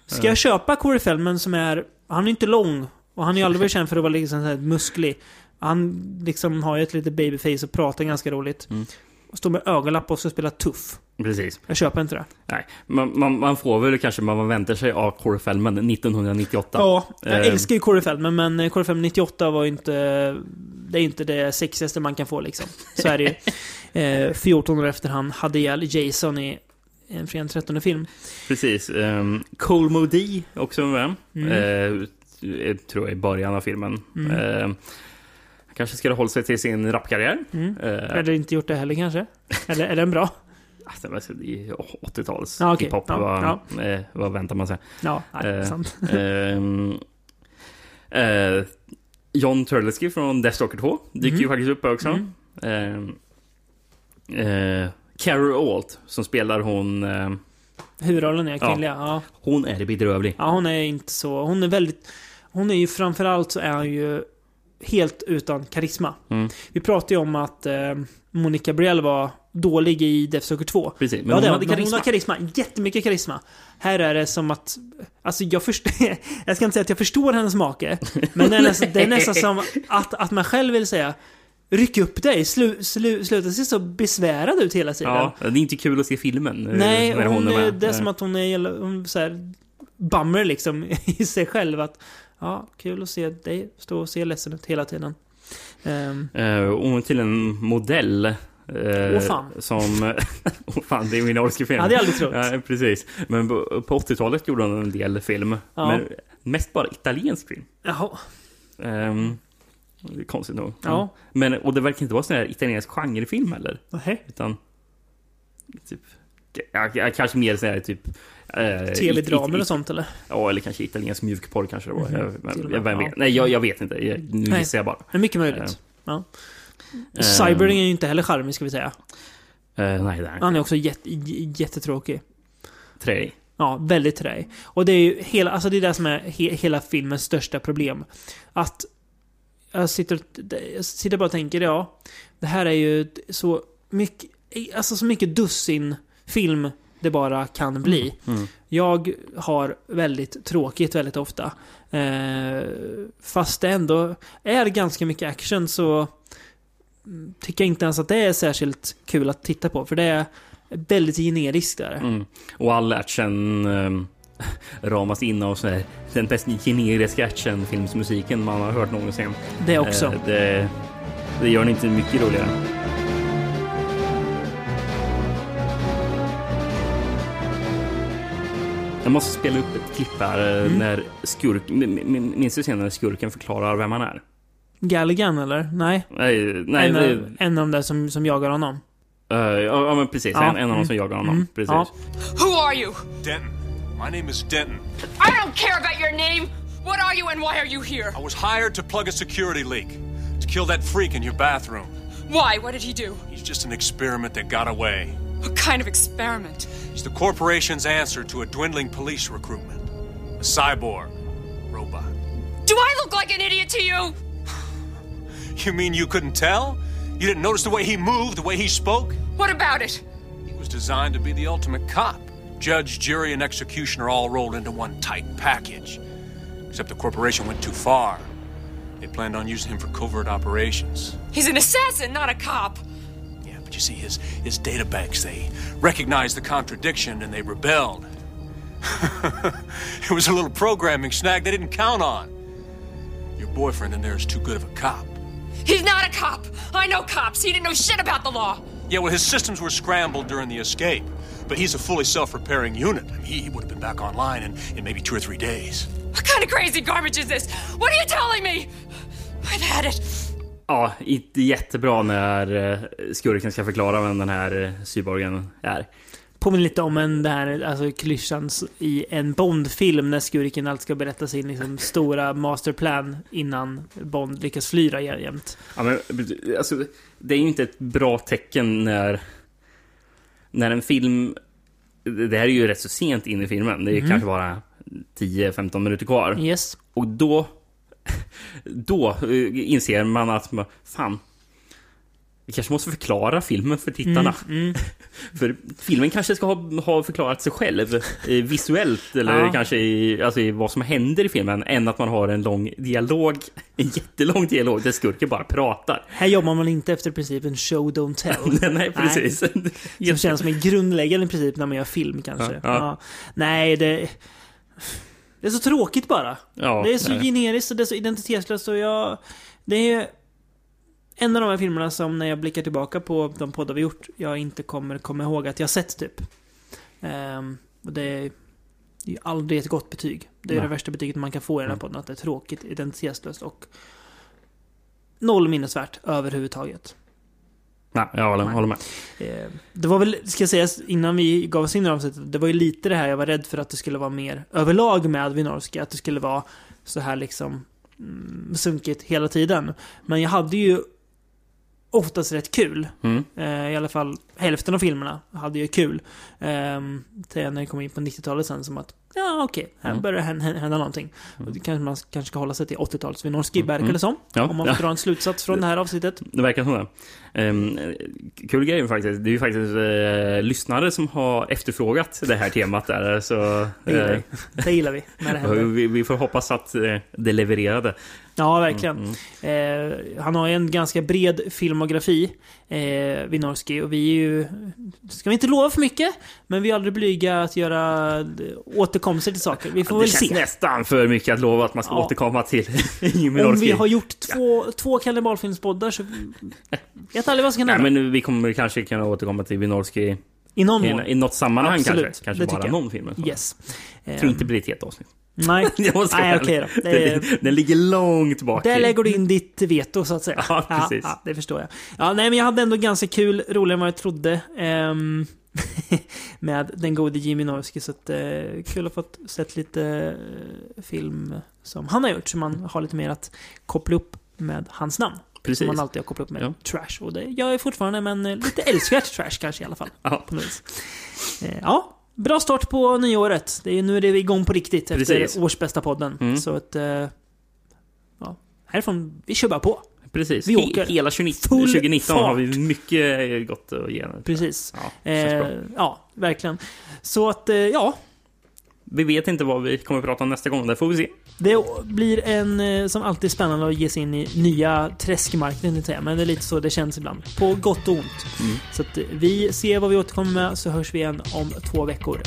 Ska Eh. jag köpa Corey Feldman som är... Han är inte lång och han är ju aldrig varit känd för att vara liksom så här musklig. Han liksom har ju ett litet babyface och pratar ganska roligt. Mm. Och står med ögonlapp och ska spela tuff. Precis. Jag köper inte det. Nej, man, man, man får väl kanske vad man väntar sig av Corey Feldman 1998. Ja, jag Eh, älskar ju Corey Feldman, men eh, Corey Feldman 98 var ju inte... Det är inte det sexigaste man kan få liksom. Så är det ju. Eh, 14 år efter han hade ihjäl Jason i en fri en 13 film. Precis. Um, Cole Moody också med. Mm. Eh, jag tror jag i början av filmen. Mm. Eh, han kanske skulle ha hållit sig till sin rapkarriär. Mm. Eh, Eller inte gjort det heller kanske? Eller är den bra? Alltså, det var så- det är ju 80-tals Ja, okej. hiphop. Ja, vad, ja. eh, vad väntar man sig? Ja, nej, Eh, sant. ehm, eh, John Turleski från Death Stalker 2 dyker Mm. ju faktiskt upp också. Mm. Ehm, eh, Carrie Alt som spelar hon... Eh, Huvudrollen är kvinnliga, ja. Hon är bedrövlig. Ja, hon är inte så... Hon är väldigt... Hon är ju framförallt så är hon ju helt utan karisma. Mm. Vi pratade ju om att eh, Monica Brielle var dålig i Death Stalker 2. Precis, men ja, hon det, hade men hon karisma. har karisma. Jättemycket karisma. Här är det som att... Alltså jag förstår... jag ska inte säga att jag förstår hennes make. Men det är nästan, det är nästan som att, att man själv vill säga Ryck upp dig, slu, slu, sluta se så besvärad ut hela tiden. Ja, det är inte kul att se filmen eh, Nej, när hon, är med. det är som att hon är jävla- hon så här, bummer liksom i sig själv. Att, ja, kul att se dig stå och se ledsen ut hela tiden. Ehm, Eh, hon är till en modell. eh, Åh, fan. Som... Åh fan, det är min Orski-film. Hade jag aldrig trott. Nej, precis. Men på på 80-talet gjorde hon en del film. Ja. Men mest bara italiensk film. jaha. Ehm, det är konstigt nog. Mm. Ja. Men, och det verkar inte vara sån här italiensk genrefilm heller. Nej. Utan... Typ... ja, ja, Kanske mer sån här typ... eh, it- Tv-dramer it- och sånt eller? Ja, eller kanske italiensk mjukporr kanske det var. Mhm, Jag, till och jag, med. jag, vem Ja. vet. Nej, jag, jag vet inte. Jag, nu Nej. gissar jag bara. Det är mycket möjligt. Eh. Ja. Eh. Cybering är ju inte heller charmig ska vi säga. Eh, nej, det är Han är också jätte, j- jättetråkig. Trey. Ja, väldigt träig. Och det är ju hela, alltså det är det som är he, hela filmens största problem. Att jag sitter, och- jag sitter bara och tänker, ja, det här är ju ett- så mycket, alltså så mycket dussin film det bara kan bli. Mm. Jag har väldigt tråkigt väldigt ofta. Eh, fast det ändå är ganska mycket action så mm, tycker jag inte ens att det är särskilt kul att titta på. För det är väldigt generiskt där. Mm. Och all action ehm, ramas in av så här, den mest generiska actionfilmsmusiken man har hört någonsin. Det också. Eh, det, det gör den inte mycket roligare. Jag måste spela upp ett klipp här eh, Mm. när skurk... min- min- Minns du scenen när skurken förklarar vem han är? Galligan eller? Nej. Nej, eh, nej en, av- det, en av de där som, som jagar honom. eh, ja, ja, men precis. Ja. En, en av dem som Mm. jagar honom. Mm. Precis. Ja. Who are you? Denton. My name is Denton. I don't care about your name. What are you and why are you here? I was hired to plug a security leak to kill that freak in your bathroom. Why? What did he do? He's just an experiment that got away. What kind of experiment? It's the corporation's answer to a dwindling police recruitment. A cyborg robot. Do I look like an idiot to you? You mean you couldn't tell? You didn't notice the way he moved, the way he spoke? What about it? He was designed to be the ultimate cop. Judge, jury, and executioner all rolled into one tight package. Except the corporation went too far. They planned on using him for covert operations. He's an assassin, not a cop. Yeah, but you see, his, his data banks, they recognized the contradiction and they rebelled. it was a little programming snag they didn't count on. Your boyfriend in there is too good of a cop. He's not a cop. I know cops. He didn't know shit about the law. Yeah, well, his systems were scrambled during the escape, but he's a fully self repairing unit. I mean, he, he would have been back online in, in maybe two or three days. What kind of crazy garbage is this? What are you telling me? I've had it. Ja, inte jättebra när eh, skurken ska förklara vem den här eh, cyborgen är. Påminner lite om en, det här, alltså klyschan s- i en Bond-film när skurken alltid ska berätta sin liksom, stora masterplan innan Bond lyckas fly där jä- jämt. Ja, men, alltså, det är ju inte ett bra tecken när, när en film... Det här är ju rätt så sent in i filmen. Det är ju Mm. kanske bara 10-15 minuter kvar. Yes. Och då, då eh, inser man att man, fan, vi kanske måste förklara filmen för tittarna. Mm, mm. För filmen kanske ska ha, ha förklarat sig själv eh, visuellt eller Ja. kanske i, alltså i vad som händer i filmen än att man har en lång dialog, en jättelång dialog där skurken bara pratar. Här jobbar man inte efter principen show, don't tell. Nej, precis. Nej. Som känns som en grundläggande princip när man gör film kanske. Ja, Ja, ja. Nej, det... Det är så tråkigt bara. Ja, det är så nej. generiskt och det är så identitetslöst och jag... Det är en av de här filmerna som när jag blickar tillbaka på de poddar vi gjort, jag inte kommer komma ihåg att jag sett typ. Ehm, och det är det är ju aldrig ett gott betyg. Det är Nej. det värsta betyget man kan få i den här Mm. podden, att det är tråkigt, identitetslöst och noll minnesvärt överhuvudtaget. Nej, jag håller, Nej. håller med. Eh, Det var väl, ska jag säga, innan vi gav oss in i det här avsnittet, det var ju lite det här jag var rädd för att det skulle vara mer överlag med Winorski, att det skulle vara så här liksom mm, sunkigt hela tiden. Men jag hade ju oftast rätt kul. Mm. Eh, I alla fall hälften av filmerna hade jag kul. Ehm, till när jag kom in på 90-talet sen som att, ja okej, här Mm. börjar hän- hända, hända någonting. Och det kanske man kanske ska hålla sig till 80-talets Winorski, verkar Mm. det som. Ja. Om man får dra en slutsats från det här avsnittet. Det verkar så. Um, kul grej faktiskt. Det är ju faktiskt eh, lyssnare som har efterfrågat det här temat där. Så, Det gillar eh, vi. Det gillar vi, när det händer. vi, vi får hoppas att eh, det levererade. Ja, verkligen. Eh, han har ju en ganska bred filmografi, eh, Winorski, och vi är ju... Ska vi inte lova för mycket, men vi är aldrig blyga att göra eh, återkomster till saker. Vi får Det väl känns se. nästan för mycket att lova att man ska Ja. återkomma till Jimmy Om vi Norski. har gjort två, två kannibalfilmspoddar så... vet aldrig vad som kan Nej, hända. men vi kommer kanske kunna återkomma till Winorski I någon mån. i, i något sammanhang Mm. Absolut, kanske. Kanske det tycker bara jag. någon film. eller så. Yes. Eh, Jag tror inte det blir ett helt avsnitt. Nej, Jag måste vara Nej ärlig. okej då. Det är- Den, den ligger långt bak. Där i. lägger du in ditt veto så att säga. Ja, precis. Ja, det förstår jag. Ja, nej, men jag hade ändå ganska kul, roligare än vad jag trodde. ehm, med den gode Jimmy Norski. Så att, eh, kul att ha fått sett lite eh, film som han har gjort. Så man har lite mer att koppla upp med hans namn. Precis. Som man alltid har kopplat upp med Ja. trash. Och det gör jag fortfarande, men eh, lite älskvärt trash kanske i alla fall. Ja. På något vis. Eh, ja. Bra start på nyåret. Det är, ju- nu är det igång på riktigt efter Precis. årsbästa podden. Mm. Så att... eh, Ja, härifrån, vi kör bara på. Precis. Vi Vi åker. Hela 29, Full 2019 har vi fart. mycket eh, gott att ge. Precis. Ja, känns bra. Eh, ja, verkligen. Så att, eh, ja. Vi vet inte vad vi kommer att prata om nästa gång. Det får vi se. Det blir en, eh, som alltid spännande att ge sig in i nya träskmarknaden, tänkte jag säga. men det är lite så det känns ibland. På gott och ont. Så att eh, vi ser vad vi återkommer med, så hörs vi igen om två veckor.